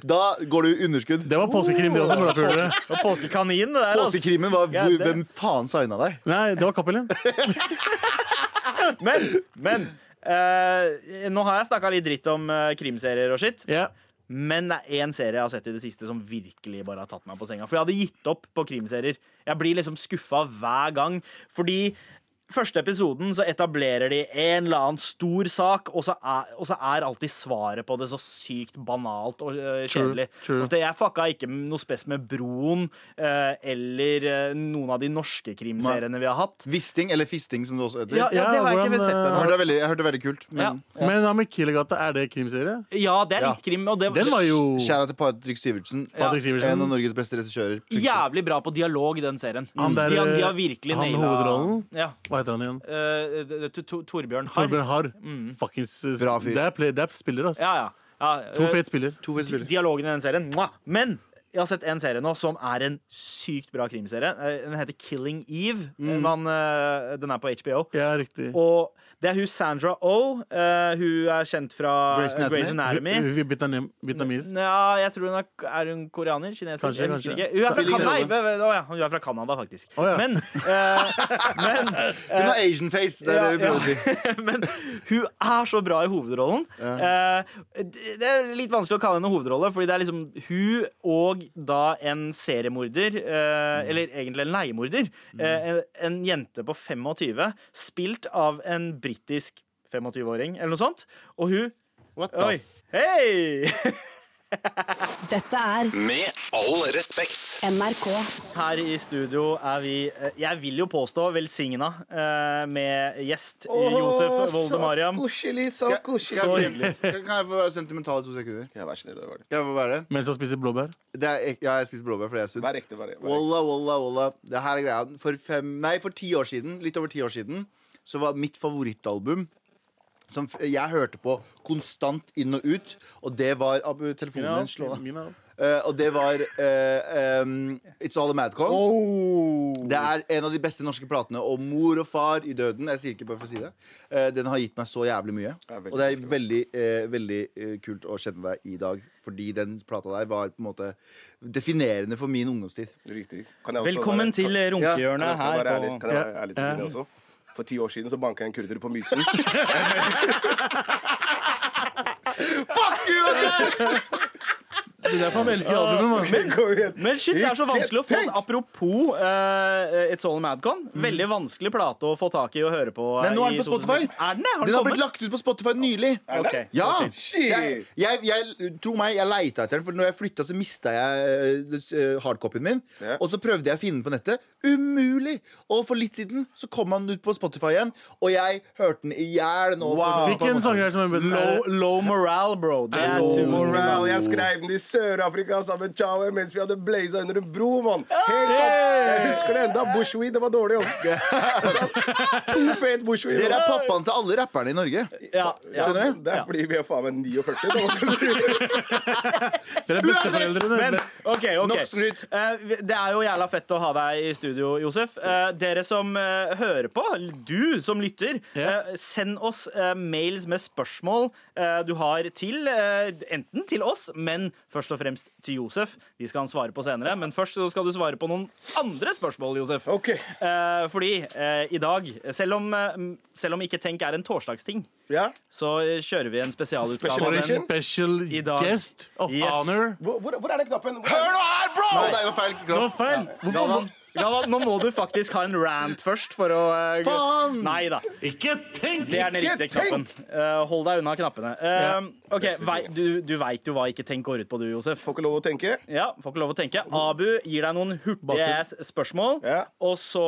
Da går du underskudd.
Det var påskekrim, det også. når dere gjorde det.
og påskekanin, det der. altså.
Påskekrimmen var
Ja,
hvor-
det-
Hvem faen signa deg?
Nei, det var Cappelen.
Men, men eh, nå har jeg snakka litt dritt om eh, krimserier og skitt.
Ja.
Men det er én serie jeg har sett i det siste som virkelig bare har tatt meg på senga. For jeg hadde gitt opp på krimserier. Jeg blir liksom skuffa hver gang. Fordi første episoden så etablerer de en eller annen stor sak, og så er, og så er alltid svaret på det så sykt banalt og øh, kjedelig.
true.
Ofte, Jeg fucka ikke noe spes med Broen øh, eller øh, noen av de norske krimseriene vi har hatt.
Visting, eller fisting, som det også heter.
Ja, ja, det har jeg ikke
hvordan,
sett
Jeg
øh,
ennå.
hørte det er veldig, jeg hørte det er veldig kult. Men
Men da med Killergata, er det krimserie?
Ja, det er
Ja.
litt krim. Og det
Den var jo
kjære til Patrick Sivertsen. En
Patrick
av
Sivertsen.
Norges beste regissører.
jævlig bra på dialog, den serien. Mm.
Han der, eh,
de, har- de har virkelig
han
naila
hovedrollen?
Ja.
Hva heter han igjen?
Eh, det- det- Tor- Torbjørn Harr.
Torbjørn Harr. Fuckings eh,
Bra fyr.
Det er, play, det er spiller, altså.
Ja, ja. ja
To
eh,
fet spiller.
To fete spillere.
Dialogen i den serien. mwah! Men jeg har sett en serie nå som er en sykt bra krimserie. Eh, Den heter Killing Eve.
Mm.
Man, eh, den er på HBO.
Ja, riktig.
Og det er hun Sandra O. Eh, hun er kjent fra eh,
Grey's Anatomy.
Grey's Anatomy.
Hun- hun- vietnam- Vietnamesisk.
Ja, jeg tror hun er, er hun koreaner? Kineser?
Kanskje,
jeg husker
kanskje.
ikke. Hun er fra
Spiller ingen
Canada, nei,
rolle.
ve- ve- å ja, hun er fra Canada faktisk.
Å ja.
Men, eh, men
Hun har Asian face, det er det vi
Ja,
prøver å si.
Men hun er så bra i hovedrollen. Eh, det det er litt vanskelig å kalle henne hovedrolle, fordi det er liksom hun og da en seriemorder, eh,
Mm.
eller egentlig en leiemorder, eh, en, en jente på 25, spilt av en britisk 25-åring, eller noe sånt. Og hun
What the
Oi.
f...
Hei!
Dette er
Med all respekt.
NRK.
Her i studio er vi, eh, jeg vil jo påstå, velsigna eh, med gjest Josef Voldemariam.
koselig, så
Skal jeg si- Kan kan jeg få være sentimental i to sekunder?
Ja, vær snill, vær,
Kan jeg få være det?
Mens han spiser blåbær.
det er, ek- ja, jeg spiser blåbær fordi jeg er sunn.
vær ekte. Vær, vær ekte.
Walla, walla, walla. Det her er greia. For, fem, nei, for ti år siden, litt over ti år siden, så var mitt favorittalbum som f- jeg hørte på konstant inn og ut, og det var Abu, telefonen din slå av.
Mina.
Eh, og det var eh, em, It's All a Madcon.
Oh!
Det er en av de beste norske platene. Og mor og far i døden. Jeg sier ikke bare for å si det. Eh, den har gitt meg så jævlig mye.
Ja, veldig
og det er veldig, eh, veldig eh, kult å kjenne deg i dag. Fordi den plata der var på en måte definerende for min ungdomstid.
Riktig. Kan jeg også
Velkommen
være-
til
kan,
runkehjørnet
kan, kan, jeg
her
være ærlig,
på
kan jeg være ærlig til
Ja.
dere også? For ti år siden så banka jeg en kurder på Mysen.
Det er derfor han elsker
Ah,
albumet. mann.
Kom igjen.
Men shit, det er så vanskelig å få den. Apropos eh, It's All Madcon. Veldig vanskelig plate å få tak i og høre på. eh,
Nei, nå er Mm. den
i
på Spotify.
2000. Er den det?
Den
Har den
har blitt
kommet?
lagt ut på Spotify nylig.
Ok.
Ja!
Shit.
Jeg, jeg, jeg, tro meg, jeg leita etter den, for når jeg flytta, så mista jeg eh, s- eh, hardcopyen min.
Ja.
Og så prøvde jeg å finne den på nettet. Umulig! Og for litt siden så kom han ut på Spotify igjen, og jeg hørte den i hjel nå.
Wow.
Hvilken sanger er det som
Low,
er bedre?
low morale, bro. Det er
Low
tunen,
morale.
ass.
Jeg skrev den i Sør-Afrika sammen med Chawe mens vi hadde blaza under en bro, mann. Helt sant. Jeg husker det enda. Bushweed, det var dårlig. ass. to fet bushweed.
Dere er
ass.
pappaen til alle rapperne i Norge.
Ja, ja.
Skjønner du?
Det er fordi vi er faen meg 49. da.
Dere er besteforeldrene.
Men OK, OK.
Nok skryt.
Eh, vi- det er jo jævla fett å ha deg i studio, Josef. Eh, dere som eh, hører på, du som lytter,
Ja.
eh, send oss eh, mails med spørsmål eh, du har til eh, enten til oss, men først og fremst til Josef. De skal han svare på senere, men først så skal du svare på noen andre spørsmål, Josef.
Ok.
Eh, fordi eh, i dag, selv om, eh, selv om Ikke tenk er en torsdagsting,
Ja.
så eh, kjører vi en spesialutgave.
Special
For
av
a
den.
edition.
special
I dag.
guest of
Yes.
honor.
Hvor, hvor, hvor er den knappen? Hvor
Hør
er den?
nå her, bro! Det er jo feil
Det var
klapp.
feil. Hvorfor?
Galvan, Galvan, nå må du faktisk ha en rant først for å eh, gå-
Faen!
Nei da.
Ikke tenk!
Det er den
Ikke
riktige knappen. Eh, hold deg unna knappene. Eh, ok, vei, Du, du veit jo hva Ikke tenk går ut på, du, Josef.
Får ikke lov å tenke.
Ja, Får ikke lov å tenke. Abu gir deg noen hurtige
Bakgrunn.
ass spørsmål,
Ja.
og, så,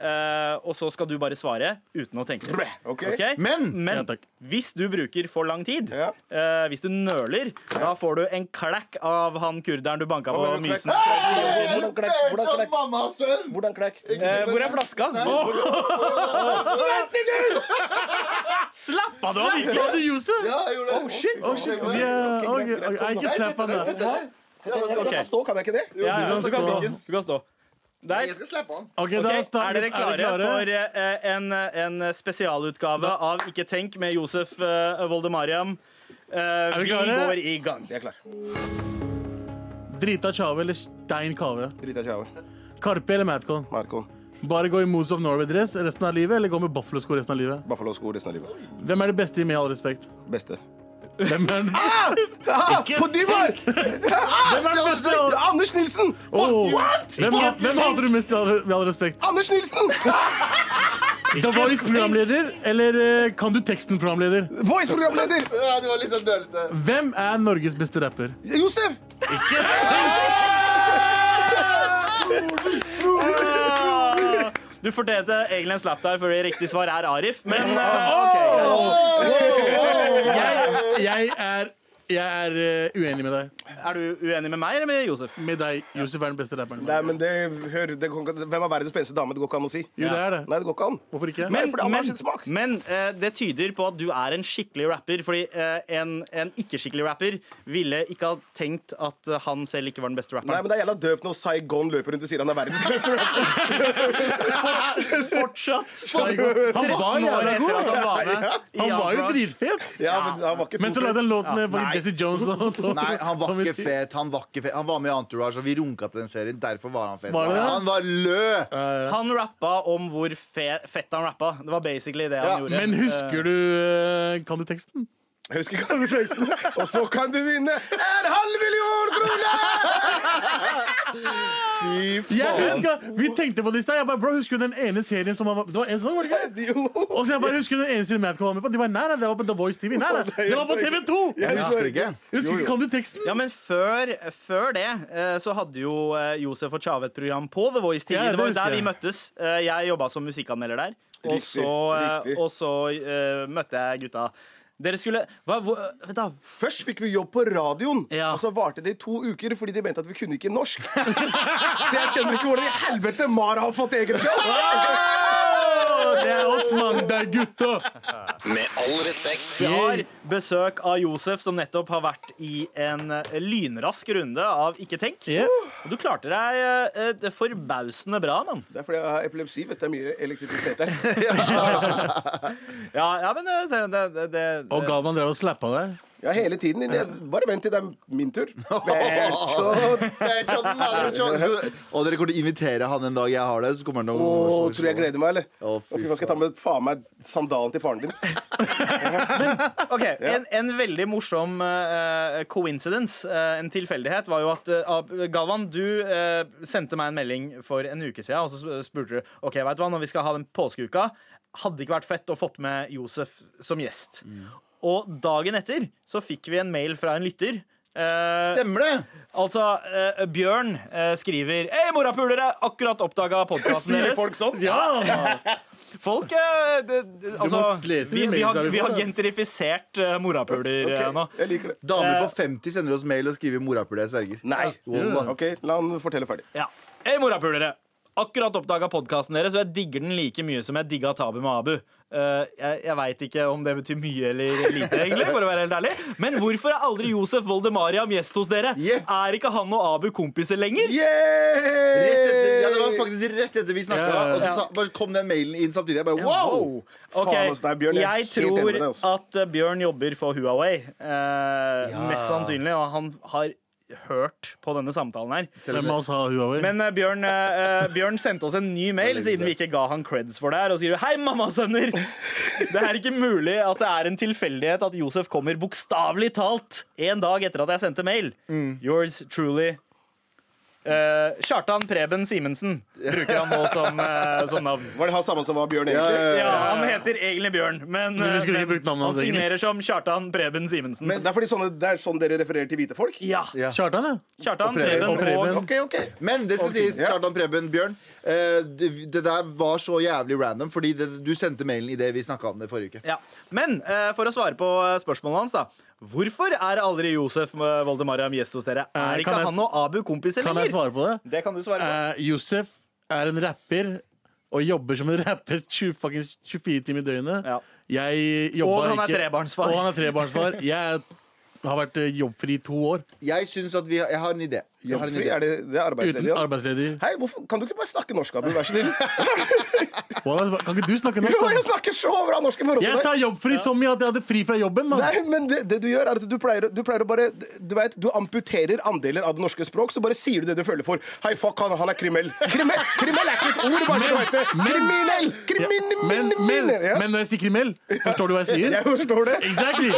eh, og så skal du bare svare uten å tenke.
Ok.
Ok?
Men-
Ja, takk.
hvis du bruker for lang tid,
Ja.
eh, hvis du nøler, da får du en klekk av han kurderen du banka på
Hvordan klekk? Ah,
Mysen.
Hvordan klekk? Hvordan
Hvordan
klekk?
mamma og sønn?
Hvordan klekk?
Eh, hvor er flaska?
Slapp av, det var ikke du, Josef!
Ja, jeg gjorde det. Oh, shit.
Ja,
Ok,
ok,
greit, greit,
ok.
kom,
Jeg
da.
ikke slapp han
Jeg
da.
setter deg.
Jeg kan stå, kan jeg ikke det?
Ja, ja,
du
du kan
kan
stå.
stå.
Du kan stå. Der.
Jeg skal slippe han.
Ok,
Ok,
da
er
starter-
dere klare, for eh, en, en spesialutgave av Ikke tenk med Josef eh, Voldemariam? Eh,
vi
vi
klare?
går i gang.
Jeg er klar.
Drita Chave eller Stein Kave?
Drita kjave.
Karpe eller Madcon?
Marco.
Bare gå i Moods of Norway-dress resten av livet, eller gå med Buffalo-sko resten av livet?
Buffalo-sko resten av livet.
Hvem er det beste i Med all respekt?
Beste.
Hvem er den,
På Divar!
hvem er den beste? i all-
Anders Nilsen!
Åh, Hvem, hvem hater du mest i all, med all respekt?
Anders Nilsen!
The Voice-programleder eller eh, Kan du teksten-programleder?
Voice-programleder!
Ja, det var litt sånn dølete.
Hvem er Norges beste rapper?
Josef!
Du fortjente egentlig en slapp der, fordi riktig svar er Arif. Men eh,
Jeg, jeg er, jeg er eh, uenig med deg.
ok, er du uenig med meg eller med Josef?
Med deg. Josef er den beste rapperen.
Nei, men det, hør, det går ikke- Hvem er verdens peneste dame? Det går ikke an å si.
Jo, det er det.
Nei, det går ikke an.
Hvorfor ikke?
Men- fordi han har
men,
sin smak.
men eh, det tyder på at du er en skikkelig rapper. Fordi eh, en, en ikke-skikkelig rapper ville ikke ha tenkt at eh, han selv ikke var den beste
Nei,
rapperen.
men Det er jævla døvt når Saigon løper rundt og sier han er verdens beste rapper.
Fortsatt!
Han var
Nå er det etter at
jævla god!
han var med i
Han var jo
Entourage.
dritfet.
Ja, men han var ikke
Men så lagde han låt med
Nei.
Jesse Jones og
Nei, han var
Tommy
ikke
T.
fet. Han var ikke fet Han var med i Entourage, og vi runka til den serien. Derfor var han fet.
Var det det?
han var lø!
Han rappa om hvor fe fett han rappa. Det var basically det han
Ja,
gjorde.
Men husker du eh, Kan du teksten?
Jeg husker ikke alle tekstene. Og så kan du vinne en halv million kroner!
Jeg husker, Vi tenkte på det i stad. Jeg bare, Bro, husker du den ene serien som han var Det var en sesong, var det ikke?
Jo.
Og så jeg bare husker du den ene serien Madcon var med på. De bare, nei, nei, det var på The Voice TV. Nei, nei, det var på TV2!
Jeg
Husker du ikke?
Husker ikke, Kan du teksten?
Eh, Ja, men før, før det eh, så hadde jo eh, Josef og Tjave et program på The Voice TV.
Ja, det
det var jo
husker
der vi
jeg.
møttes. Eh, Jeg jobba som musikkanmelder der. Og
Riktig,
så, eh,
riktig.
og så eh, møtte jeg gutta. Dere skulle hva, hvor, Vent, da.
Først fikk vi jobb på radioen,
Ja.
og så varte det i to uker fordi de mente at vi kunne ikke norsk. så jeg skjønner ikke hvordan i helvete Mara har fått egen jobb!
Å, Det er oss, mann. Det er gutta.
Med all respekt.
Vi har besøk av Josef, som nettopp har vært i en eh, lynrask runde av Ikke tenk.
Yeah.
Og du klarte deg eh, eh, forbausende bra, mann.
Det er fordi jeg har epilepsi. Vet du, det er mye elektrisitet der.
Ja, ja men eh, ser du, det, det, det,
Og Galvan drev og slappa deg.
Ja, hele tiden. inni- Bare vent til det er min tur. Vent til-
Jeg tror den er litt sånn. Skal du- Og dere kommer til å invitere han en dag jeg har det. Så kommer han til å
Åh, tror du jeg gleder meg, eller?
Å,
Å,
fy
fy faen, skal jeg ta med faen meg sandalen til faren din?
Ok, en, en veldig morsom eh, coincidence, eh, en tilfeldighet, var jo at eh, Ab- Galvan, du eh, sendte meg en melding for en uke siden, og så sp- spurte du Ok, vet du hva, når vi skal ha den påskeuka, hadde det ikke vært fett å fått med Josef som gjest.
Mm.
Og dagen etter så fikk vi en mail fra en lytter. eh,
Stemmer det?
altså, eh, Bjørn eh, skriver Hei, morapulere! Akkurat oppdaga podkasten
Sier
deres.
folk sånn?
Ja!
Folk eh, det, det, altså,
lese
vi,
de
vi,
mailene
har,
vi
vi
får,
har
ass.
gentrifisert eh, morapuler
Ok,
eh, nå.
jeg liker det.
Damer på 50 sender oss mail og skriver 'morapuler'. Jeg sverger.
Nei.
Wallah.
OK, la han fortelle ferdig.
Ja. Hei, morapulere! Akkurat oppdaga podkasten deres, og jeg digger den like mye som jeg digga Tabu med Abu. Eh, jeg jeg veit ikke om det betyr mye eller lite, egentlig, for å være helt ærlig. Men hvorfor er aldri Josef Voldemariam gjest hos dere?
Yeah.
Er ikke han og Abu kompiser lenger?
Rett etter,
Yay!
ja, det var faktisk rett etter vi snakka,
Ja, ja, ja.
og så sa, bare kom den mailen inn samtidig. Jeg bare wow! altså,
Ok,
Faen, ass, nei, Bjørn, jeg er
jeg
helt enig
tror
med deg, altså. ass.
at eh, Bjørn jobber for Huawei. eh, Mest sannsynlig, og han har hørt på denne samtalen her.
Hvem av oss har Huawei?
Men eh, Bjørn, eh, eh, Bjørn sendte oss en ny mail siden vi ikke ga han creds for det her, og skriver Hei, mammasønner! Det er ikke mulig at det er en tilfeldighet at Josef kommer bokstavelig talt en dag etter at jeg sendte mail. Yours truly. eh, Kjartan Preben Simensen bruker han nå som, eh, som navn.
Var det han samme som var Bjørn, egentlig?
Ja, Han heter egentlig Bjørn, men,
Men vi
eh,
skulle ikke
men
brukt navnet
han
hans egentlig.
signerer som Kjartan Preben Simensen.
Men det er fordi sånne, det er sånn dere refererer til hvite folk?
ja,
Kjartan, ja.
Kjartan
Preben.
Preben
Og Preben.
og
OK, OK.
Men det skal sies,
Ja.
Kjartan Preben Bjørn, eh, det, det der var så jævlig random, fordi det, du sendte mailen i det vi snakka om det forrige uke.
Ja. Men eh, for å svare på eh, spørsmålet hans, da. Hvorfor er aldri Josef eh, Voldemariam gjest hos dere?
Eh,
Er ikke
kan jeg s-
han og Abu kompiser
Kan jeg
lenger?
svare på det?
Det kan du svare på.
Eh, Josef er en rapper og jobber som en rapper 20, fucking 24 timer i døgnet.
Ja.
Jeg jobber
Og han er
ikke-
trebarnsfar.
Og han er trebarnsfar. Jeg er- har vært eh, jobbfri i to år.
Jeg syns at vi har, jeg har en idé. Jeg har en
Jobbfri?
idé.
Er det, det er
Uten
arbeidsledig? ja?
arbeidsledig.
Hei, hvorfor, kan du ikke bare snakke norsk, Abu? Vær så snill.
Hva- Kan ikke du snakke norsk?
Jo, jeg
da?
snakker så bra norsk i forhold
Jeg
til
sa
deg.
jobbfri som i at jeg hadde fri fra jobben. Man.
Nei, men det, det du gjør, er at du pleier, å- du pleier å bare Du vet, du amputerer andeler av det norske språk, så bare sier du det du føler for. Hei, fuck, han, han er kriminell. Kriminell kriminell er ikke et ord, bare så du vet det. Kriminell!
Ja, men, men,
Kriminell! Ja.
men når jeg sier kriminell, forstår du hva jeg sier?
Jeg forstår det.
Exactly!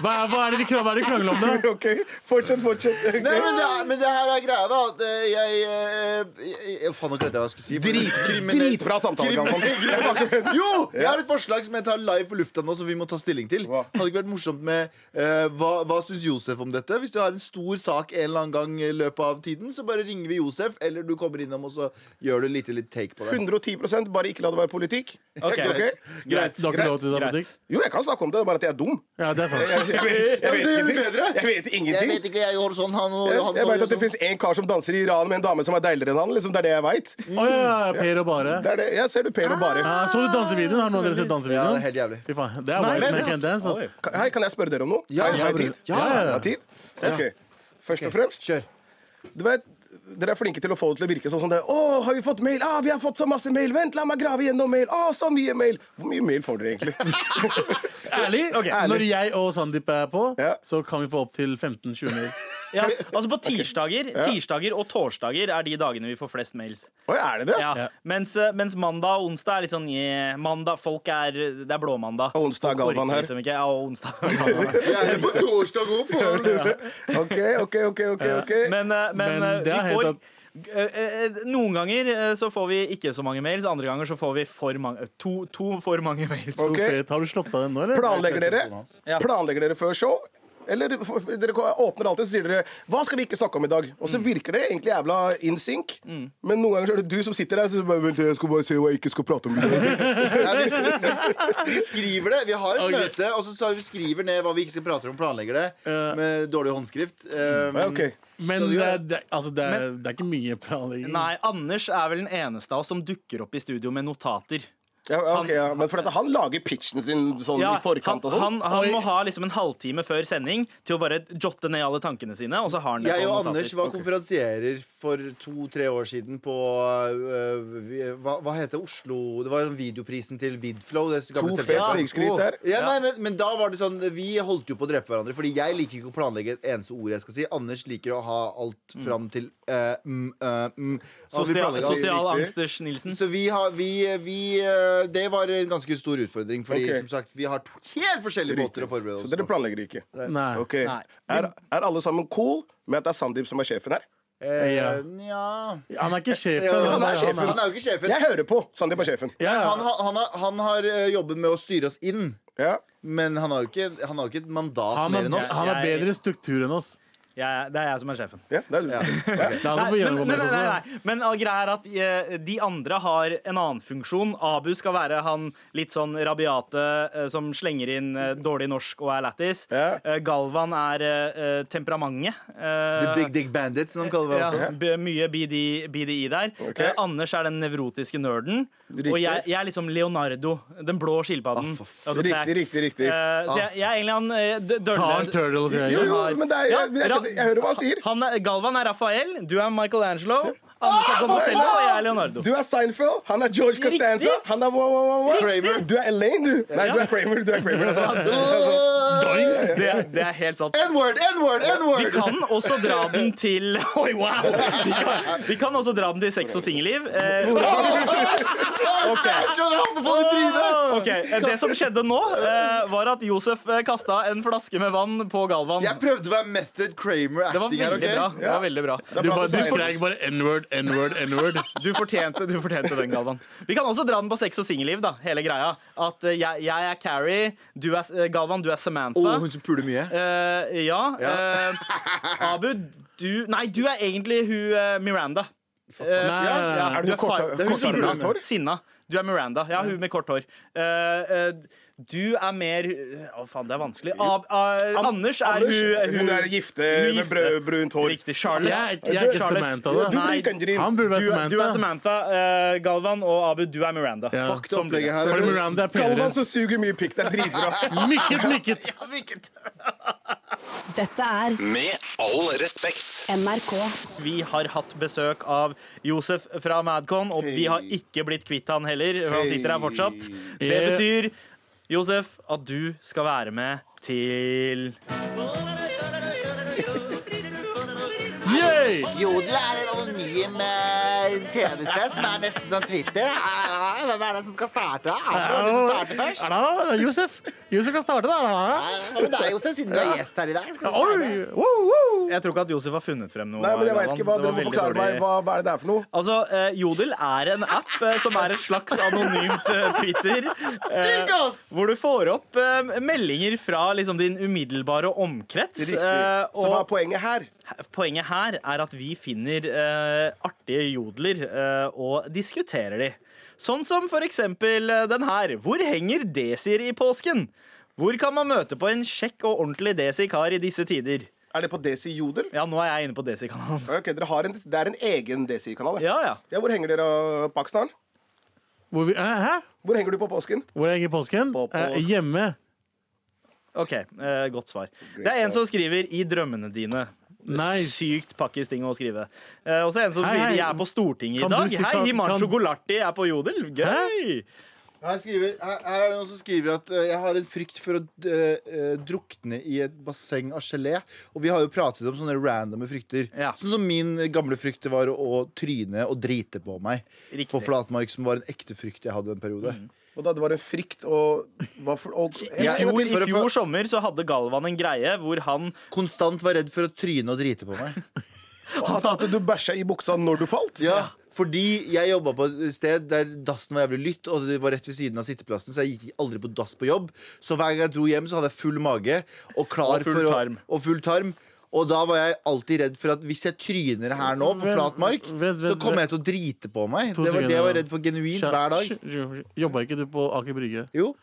Hva, er- hva er det vi krangler- hva er det vi krangler om, da?
OK, fortsett, fortsett.
Nei, men det, er, men det her er greia, da. At eh, jeg, eh, jeg, jeg Faen, nå glemte jeg hva jeg skulle si. Dritkriminell.
Dritbra samtale, Galvan. Jeg bare-
Jo! Jeg har et forslag som jeg tar live på lufta nå, som vi må ta stilling til.
Hva?
Hadde ikke vært morsomt med eh, Hva, hva syns Josef om dette? Hvis du har en stor sak en eller annen gang i løpet av tiden, så bare ringer vi Josef, eller du kommer innom, og så gjør du litt, litt take på det.
110 bare ikke la det være politikk.
Ok.
Ja, greit. greit.
Du har ikke lov til det,
greit.
Bendik?
Jo, jeg kan snakke om det, det er bare at jeg er dum.
Ja, det er sant.
Jeg vet,
Ja, men det gjør det
ingenting.
bedre.
Jeg vet
Jeg
ingenting.
vet ikke, jeg gjorde sånn, han og
Jeg,
han
jeg
så-
vet at det
sånn.
fins en kar som danser i Iran med en dame som er deiligere enn han. Liksom, det er det jeg veit.
Å ja, ja, Per og Bare.
Det er det. Jeg ser du Per og Bare.
Ja, så du dansevideoen? Har noen av dere
Ja,
sett
det er
dansevideoen?
helt jævlig.
Fy faen, det er White
men-
Man Can't Dance. Altså.
Ka- Hei, kan jeg spørre dere om noe?
Ja,
Har jeg- har
ja,
jeg tid?
bror. Ja, ja, ja.
Jeg har tid? Ok. Først og fremst,
Kjør.
du vet, dere er flinke til å få det til å virke sånn som dere. Å, har vi fått mail? Ah, vi har fått så masse mail. Vent, la meg grave gjennom mail. Å, så mye mail. Hvor mye mail får dere egentlig?
Ærlig, når jeg og Sandeep er på,
Ja.
så kan vi få opp til 15-20 mil.
Ja, altså på tirsdager, tirsdager og torsdager er de dagene vi får flest mails.
Oi, er det det?
Ja.
Ja.
Mens, eh, mens mandag og onsdag er litt sånn eh, mandag, folk er, Det er blåmandag.
Og onsdag er
Folk orker
Galvan her.
Liksom ikke. Ja, og onsdag er Galvan her.
Jeg er det på torsdag òg, faen!
OK, OK, OK. ok, ok
Men, eh, men,
Men
eh,
det er
vi
helt
får
at-
eh, eh, Noen ganger eh, så får vi ikke så mange mails, andre ganger så får vi for mange, to, to for mange mails.
Ok.
Fet, har du slått av den nå, eller?
Planlegger dere?
Ja.
Planlegger dere før show? Eller f- f- dere ko- åpner alltid og sier dere, hva skal vi ikke snakke om i dag? Og så virker det egentlig jævla in sync, men noen ganger så er det du som sitter der og bare vent, jeg skal bare se hva jeg ikke skal prate om.
Nei, vi, skri- vi, s- vi skriver det. Vi har et
Ok.
møte, og så sa vi skriver ned hva vi ikke skal prate om. Planlegger det
Ja.
med dårlig håndskrift. Um,
Mm. Ja, ok.
Men
Så du
det
gjør
er, det, er- altså, det, er, det er ikke mye planlegging.
Nei, Anders er vel den eneste av oss som dukker opp i studio med notater.
Ja, ja, ok, ja. Men for at han lager pitchen sin sånn i
han,
forkant og sånn.
han, han
Oi.
må ha liksom en halvtime før sending til å bare jotte ned alle tankene sine. Og så har han det
Jeg
på
og
notater.
Anders var konferansierer for to-tre år siden på øh, vi- hva, hva heter Oslo Det var sånn videoprisen til Vidflow. Det
To
gamle
fet
selskapet.
snikskryt der.
Ja, nei, men, men da var det sånn Vi holdt jo på å drepe hverandre. Fordi jeg liker ikke å planlegge et eneste ord jeg skal si. Anders liker å ha alt fram til eh, mm, eh, mm. Så vi
Sosial,
planlegger alt
sosial
riktig.
angsters Nilsen.
Så vi har vi, vi, eh, Det var en ganske stor utfordring, fordi
Ok.
som sagt, vi har to helt forskjellige måter å forberede
Så
oss
dere
på.
planlegger ikke?
Nei.
Ok.
Nei.
Er, er alle sammen cool med at det er Sandeep som er sjefen her?
Eh,
Ja.
nja.
Han er ikke sjefen.
Ja,
men
han er
det
sjefen.
han
Han er jo ikke sjefen.
Jeg hører på Sandeep er sjefen.
Ja,
Han,
ja.
har- han, har- han har eh, jobben med å styre oss inn,
Ja.
men han har jo ikke, han har jo ikke et mandat
Han,
mer enn
er,
oss.
han er
Jeg-
bedre struktur enn oss.
Jeg, det er jeg som er sjefen.
Ja, det er du.
Ja.
Det er han
Nei,
som får
men,
gjennomgå
nei,
mest
nei,
også.
nei. men all greia er at eh, de andre har en annen funksjon. Abu skal være han litt sånn rabiate eh, som slenger inn eh, dårlig norsk og er lættis.
Ja.
Eh, Galvan er eh, eh, temperamentet.
The
eh,
Big Dick Bandit, som de kaller det
ja,
også.
b- mye BD, BDI der.
Ok.
Eh, Anders er den nevrotiske nerden.
Riktig.
Og jeg, jeg er liksom Leonardo, den blå skilpadden.
Ah, for f-
Of the pack.
Riktig, riktig, riktig.
Eh, så jeg, jeg er egentlig han eh, d-
Ta en
dølle
turtle og si
Jo, jo,
har-
men det er, jeg, jeg,
Ja,
skjønner- jeg hører hva han sier.
han er, Galvan er Raphael, du er Michelangelo. Anders er Donatello, og jeg er Leonardo.
Du er Seinfeld, han er George
Riktig.
Costanza, han er wow, wow, wow, wow.
Kramer.
Du er Elaine, du. Nei, du er Kramer. Du er Kramer det er sant.
Det, er- det er helt sant.
N-word, N-word,
Vi
N-word!
kan også dra den til Oi, wow! Vi kan, vi kan også dra den til sex og singelliv. Eh,
Ok. Jeg skjønner, han befaler trynet!
ok, eh, Det som skjedde nå, eh, var at Josef eh, kasta en flaske med vann på Galvan.
Jeg prøvde å være Method
Det var
Kramer-acting her,
veldig
OK?
bra. Det var veldig bra.
Du, bare, du
Seinfeld.
skrek bare n-word, n-word, n-word.
Du fortjente, du fortjente den, Galvan. Vi kan også dra den på sex og singelliv, da. Hele greia. At eh, jeg, jeg er Carrie, du er eh, Galvan, du er Samantha.
Å, hun som puler mye.
Eh, ja.
Ja.
eh, Abu, du Nei, du er egentlig hun eh, Miranda.
Nei,
Eh,
nei, nei,
ja,
nei.
Er
du
du kort,
far-
er hun
kort,
som
kort,
burde-
hår?
Sinna. Du er Miranda. Ja, hun med kort hår. Eh, eh, du er mer Å, faen, det er vanskelig. Ab eh, Anders er
Anders,
hun,
hun er gifte med brød- brunt hår.
Riktig. Charlotte.
Jeg er- jeg er ikke
Charlotte.
Samantha,
Du
da.
Nei,
liker ikke din.
Han burde
Du,
være Samantha.
du er Samantha, eh, Galvan, og Abu, du er Miranda.
Ja.
Fuck det opplegget her.
For
eller?
Miranda er
Galvan
penere.
som suger mye pikk. Det er dritbra.
Mykket, mykket.
Dette er
Med all respekt.
NRK.
Vi har hatt besøk av Josef fra Madcon, og vi har ikke blitt kvitt han heller. for Han sitter her fortsatt. Det
Yeah.
betyr, Josef, at du skal være med til
Yay!
Jodel er en anonym eh, tjeneste som er nesten som Twitter. Ah, Hvem er det som skal starte? Ah, Hvem er det som starter først?
Er det- Josef Josef kan starte, da.
Ah, Men det er jo så siden du er gjest her i dag. Skal du starte?
Oi! Woo, woo.
Jeg tror ikke at Josef har funnet frem noe.
Nei, men jeg vet ikke hva
Det var
Dere må
veldig
forklare
dårlig.
meg hva, hva er det det er for noe.
Altså, eh, Jodel er en app eh, som er et slags anonymt eh, Twitter. eh,
Digg, ass!
hvor du får opp eh, meldinger fra liksom, din umiddelbare omkrets. eh,
Riktig. Så hva er poenget her?
Poenget her er at vi finner eh, artige jodler eh, og diskuterer de. Sånn som for eksempel eh, den her. Hvor henger desier i påsken? Hvor kan man møte på en kjekk og ordentlig desi-kar i disse tider?
Er det på Desi Jodel?
Ja, nå er jeg inne på desi-kanalen.
Ok, dere har en, Det er en egen Desi-kanal.
Ja, ja.
Ja, hvor henger dere av Pakistan?
Hvor vi- Hæ? Hæ?
Hvor henger du på påsken?
Hvor er jeg i påsken?
På- på-
Eh, Hjemme.
OK, eh, godt svar. Det er en som skriver 'I drømmene dine'.
Nice.
Sykt pakkis ting å skrive. Eh, og så er det en som
Hei,
sier
hei.
'Jeg er på Stortinget
Kan
i
du
dag'.
si-
Hei,
kan-
Himanshu
kan-
Gulati er på Jodel. Gøy!
Her, skriver, her, her er det noen som skriver at eh, jeg har en frykt for å eh, eh, drukne i et basseng av gelé. Og vi har jo pratet om sånne randomme frykter.
Ja.
Sånn som min gamle frykt var å, å tryne og drite på meg.
Riktig. Mm.
På flatmark, som var en ekte frykt jeg hadde en periode.
Og da det var en frykt og hva for, og,
I
Ja,
fjor,
for- for-
I fjor sommer så hadde Galvan en greie hvor han
Konstant var redd for å tryne og drite på meg.
At at du bæsja i buksa når du falt?
Ja, fordi jeg jobba på et sted der dassen var jævlig lytt, og det var rett ved siden av sitteplassen, så jeg gikk aldri på dass på jobb. Så hver gang jeg dro hjem, så hadde jeg full mage og klar
Og full
for å,
tarm.
og full tarm. Og da var jeg alltid redd for at hvis jeg tryner her nå, på
Vent,
flat mark,
vent, vent,
så kommer jeg til å drite på meg. Det var det jeg var redd for genuint hver dag.
Jobba ikke du på Aker Brygge?
Jo,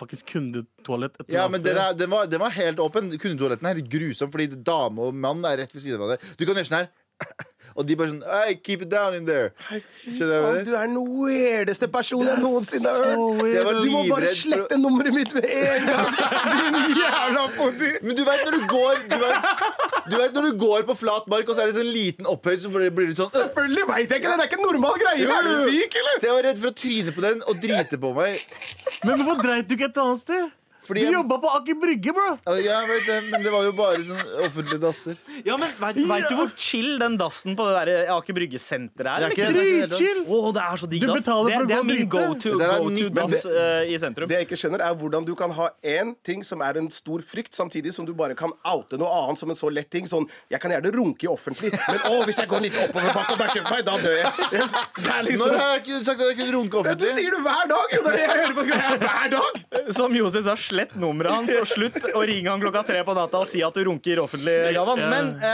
Faktisk kundetoalett. etter
ja,
hvert
men
sted.
den, er, den, var, den var helt åpen. Kundetoaletten her er grusom, fordi dame og mann er rett ved siden av deg. Du kan gjøre sånn her. Og de bare sånn hey, Keep it down in there. Skjønner du hva jeg
Faen,
mener?
Du er den weirdeste personen jeg noensinne har
så
hørt.
weird.
Så jeg var
Du må bare
livredd for å-
slette nummeret mitt med en gang! Din jævla podi!
Men du vet når du går du vet, du vet når du går på flat mark, og så er det sånn liten opphøyd, så blir det litt sånn øh.
Selvfølgelig veit jeg ikke det! Det er ikke en normal greie! Er du syk, eller?
Så jeg var redd for å tryne på den og drite på meg.
Men hvorfor dreit du ikke et annet sted?
Fordi
du
jeg-
jobba på Aker Brygge, bro!
Ja, jeg vet det, Men det var jo bare sånn offentlige dasser.
Ja, men Veit vet du hvor chill den dassen på det der eh, Aker Brygge-senteret er?
Det er
eller?
ikke-
Dritchill!
Å, det er så digg
Du
dass. Det,
betaler for å
det
gå
er
og
min
drite.
go to
Det der er
go to
nytt, men
dass
det-
eh, i sentrum.
Det jeg ikke skjønner, er hvordan du kan ha én ting som er en stor frykt, samtidig som du bare kan oute noe annet som en så lett ting. Sånn Jeg kan gjerne runke i offentlig, men å, hvis jeg går litt oppoverbakke og bæsjer på meg, da dør jeg. Det er
Når
liksom
har jeg ikke sagt at jeg kunne runke
Du
offentlig?
sier det hver dag! Jo, det er det jeg hører på greia hver dag!
Som Josef sa, slett nummeret hans og slutt å ringe han klokka tre på natta og si at du runker offentlig, Galvan. Men eh,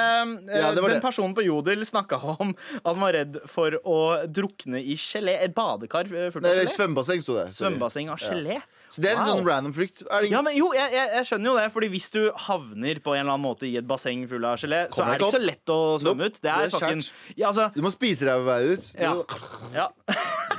eh,
Ja, det var
den
det.
personen på Jodel snakka om at han var redd for å drukne i gelé. Et badekar eh, fullt
Nei,
av gelé.
svømmebasseng sto det. Sorry.
Svømmebasseng av gelé.
Så det er en
Wow.
sånn random frykt. Er det
Ja, men jo, jeg, jeg, jeg skjønner jo det, Fordi hvis du havner på en eller annen måte i et basseng full av gelé, så
Kommer
er det
deg
ikke så lett å svømme
Nope.
ut. Det er
Det er
fucking
skjært.
Ja, altså
Du må spise deg på vei ut. Du-
ja, ja.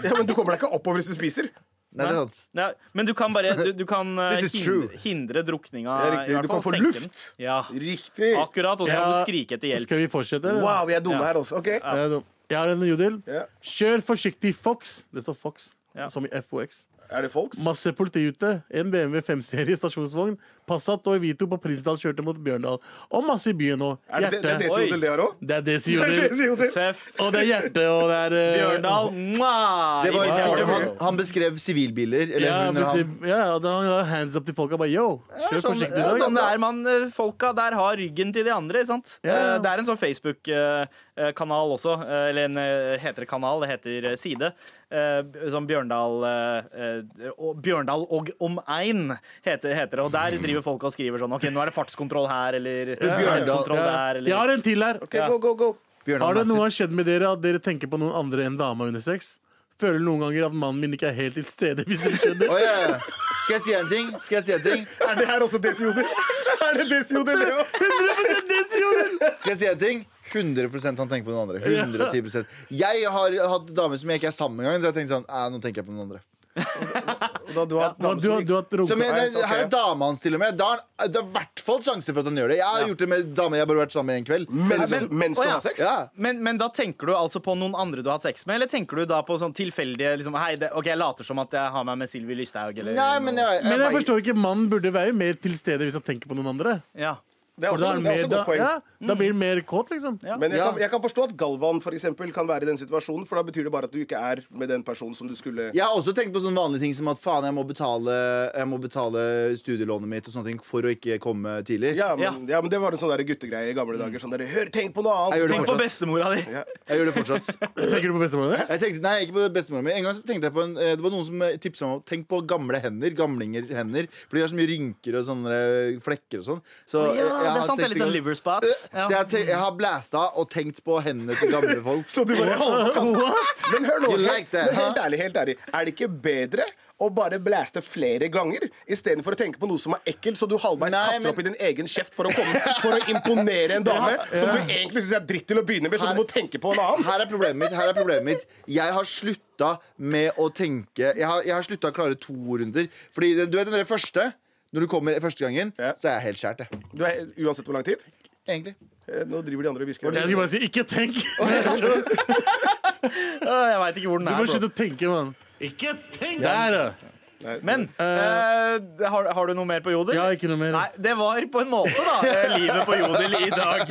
Ja, Men du kommer deg ikke oppover hvis du spiser.
Nei, det er sant.
ja. Men du kan bare Du, du kan eh,
This is
hindre,
true.
hindre drukninga.
Det er riktig.
i hvert
Du kan
fall
få
senke den.
luft.
Ja.
Riktig.
Akkurat, og så kan
Ja.
du skrike etter hjelp.
Skal vi fortsette? eller?
Wow, vi er dumme
Ja.
her også. Ok.
Det er dumt. Jeg har en jodel.
Ja.
Kjør forsiktig, Fox. Det står Fox,
Ja.
som i FOX.
Er det folks?
Masse politi ute. En BMW 5-serie stasjonsvogn. Passat og Evito på Prinsdal kjørte mot Bjørndal. Og masse i byen nå.
Er det, det, det er
Hjerte.
Oi.
desiodel, det her òg?
Det er Desi Jodel.
Seff.
Og det er hjerte, og det er eh,
Bjørndal. mwah!
Det var,
Ja,
han, han beskrev sivilbiler. Eller
Ja,
hun eller han.
plutselig- ja, og da har han hands up til folka. Bare yo, kjør
Sånn,
forsiktig i
ja,
dag.
sånn det er, man, eh, Folka der har ryggen til de andre. ikke Sant?
ja.
Eh, Det er en sånn Facebook-kanal også. eh, Eller en eh, heter det kanal, det heter eh, side. eh, b- Som Bjørndal eh, eh, og- Bjørndal og omegn heter, heter det. Og der driver folk og skriver sånn OK, nå er det fartskontroll her, eller eh,
Bjørndal.
kontroll
Ja.
der,
Jeg
eller
har en til her.
Ok, go, go, go.
Bjørnar
Har det
Masser.
noe har skjedd med dere at dere tenker på noen andre enn dama under sex? Føler noen ganger at mannen min ikke er helt til stede, hvis dere skjønner?
Å, ja, ja. Skal jeg si en ting? Skal jeg si en ting?
Er det her også desiodel? Er det desiodel, det òg?
100% Desi Jodel!
Skal jeg si en ting? 100 han tenker på noen andre. 110 Jeg har hatt damer som jeg ikke er sammen med engang. Så jeg tenkte sånn, eh, nå tenker jeg på noen andre
Da du har
Du, du, har- du har hatt
Så
runka.
men,
Nei, ok.
Her er dama hans til og med. Da har han- det er i hvert fall sjanse for at han gjør det. Jeg har gjort det med damer jeg har bare vært sammen med en kveld.
mens, mens
Å,
du
ja.
har sex?
Ja.
Men, men da tenker du altså på noen andre du har hatt sex med, eller tenker du da på sånn tilfeldige liksom, Hei, det, ok, jeg later som at jeg har meg med Sylvi Lysthaug, eller
Nei, men jeg,
Men jeg
bare-
forstår ikke, mannen burde være mer til stede hvis han tenker på noen andre.
ja.
Det er
For
også,
da, er han
det
mer,
er også et
da,
godt poeng.
ja, da blir han mer kåt, liksom.
Mm. Ja.
Men jeg
Ja.
kan, jeg kan forstå at Galvan for eksempel, kan være i den situasjonen, for da betyr det bare at du ikke er med den personen som du skulle
Jeg har også tenkt på sånne vanlige ting som at faen, jeg må betale, jeg må betale studielånet mitt og sånne ting for å ikke komme tidlig.
Ja, men, ja, men det var en sånn der guttegreie i
Mm.
gamle dager. Sånn der, Hør, tenk på noe
Jeg gjør
annet!
det
Tenk på
fortsatt.
bestemora di.
Jeg gjør det fortsatt.
Tenker du på bestemoren din?
Jeg tenkte, nei, ikke på bestemora mi. En gang så tenkte jeg på en, eh, Det var noen som eh, tipset meg om Tenk på gamle hender. Gamlinger hender. For de har så mye rynker og sånne eh, flekker og sånn. Så, eh, jeg har
Ja, det er sant. Det er
tenkt-
litt sånn liver spots.
Eh, Så jeg, har tenkt- jeg har blæsta og tenkt på hendene til gamle folk.
Så du bare
What?
Men hør nå,
You
helt,
like that,
men helt ærlig, helt ærlig. Er det ikke bedre å bare blæste flere ganger istedenfor å tenke på noe som er ekkelt, så du halvveis
Nei,
kaster
men-
opp i din egen kjeft for å, komme, for å imponere en dame som du egentlig syns er dritt til å begynne med, så du må tenke på en annen?
Her er problemet mitt. her er problemet mitt Jeg har slutta med å tenke Jeg har, jeg har slutta å klare to runder. Fordi det- du vet den der første? Når du kommer første gangen,
Ja.
så er jeg helt skjært. jeg.
Du er, uansett hvor lang tid?
Egentlig.
Eh, Nå driver de andre og hvisker.
Jeg skulle bare si ikke tenk. Du
Å, Jeg veit ikke hvor den
må
er.
slutte å tenke, mann.
Ikke tenk!
Der, ja.
Men eh, har, har du noe mer på jodel?
Ja, ikke noe mer.
Nei, det var på en måte, da, eh, livet på jodel i dag.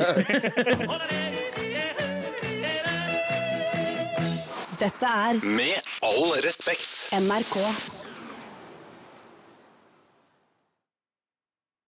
Dette er
Med all respekt.
NRK.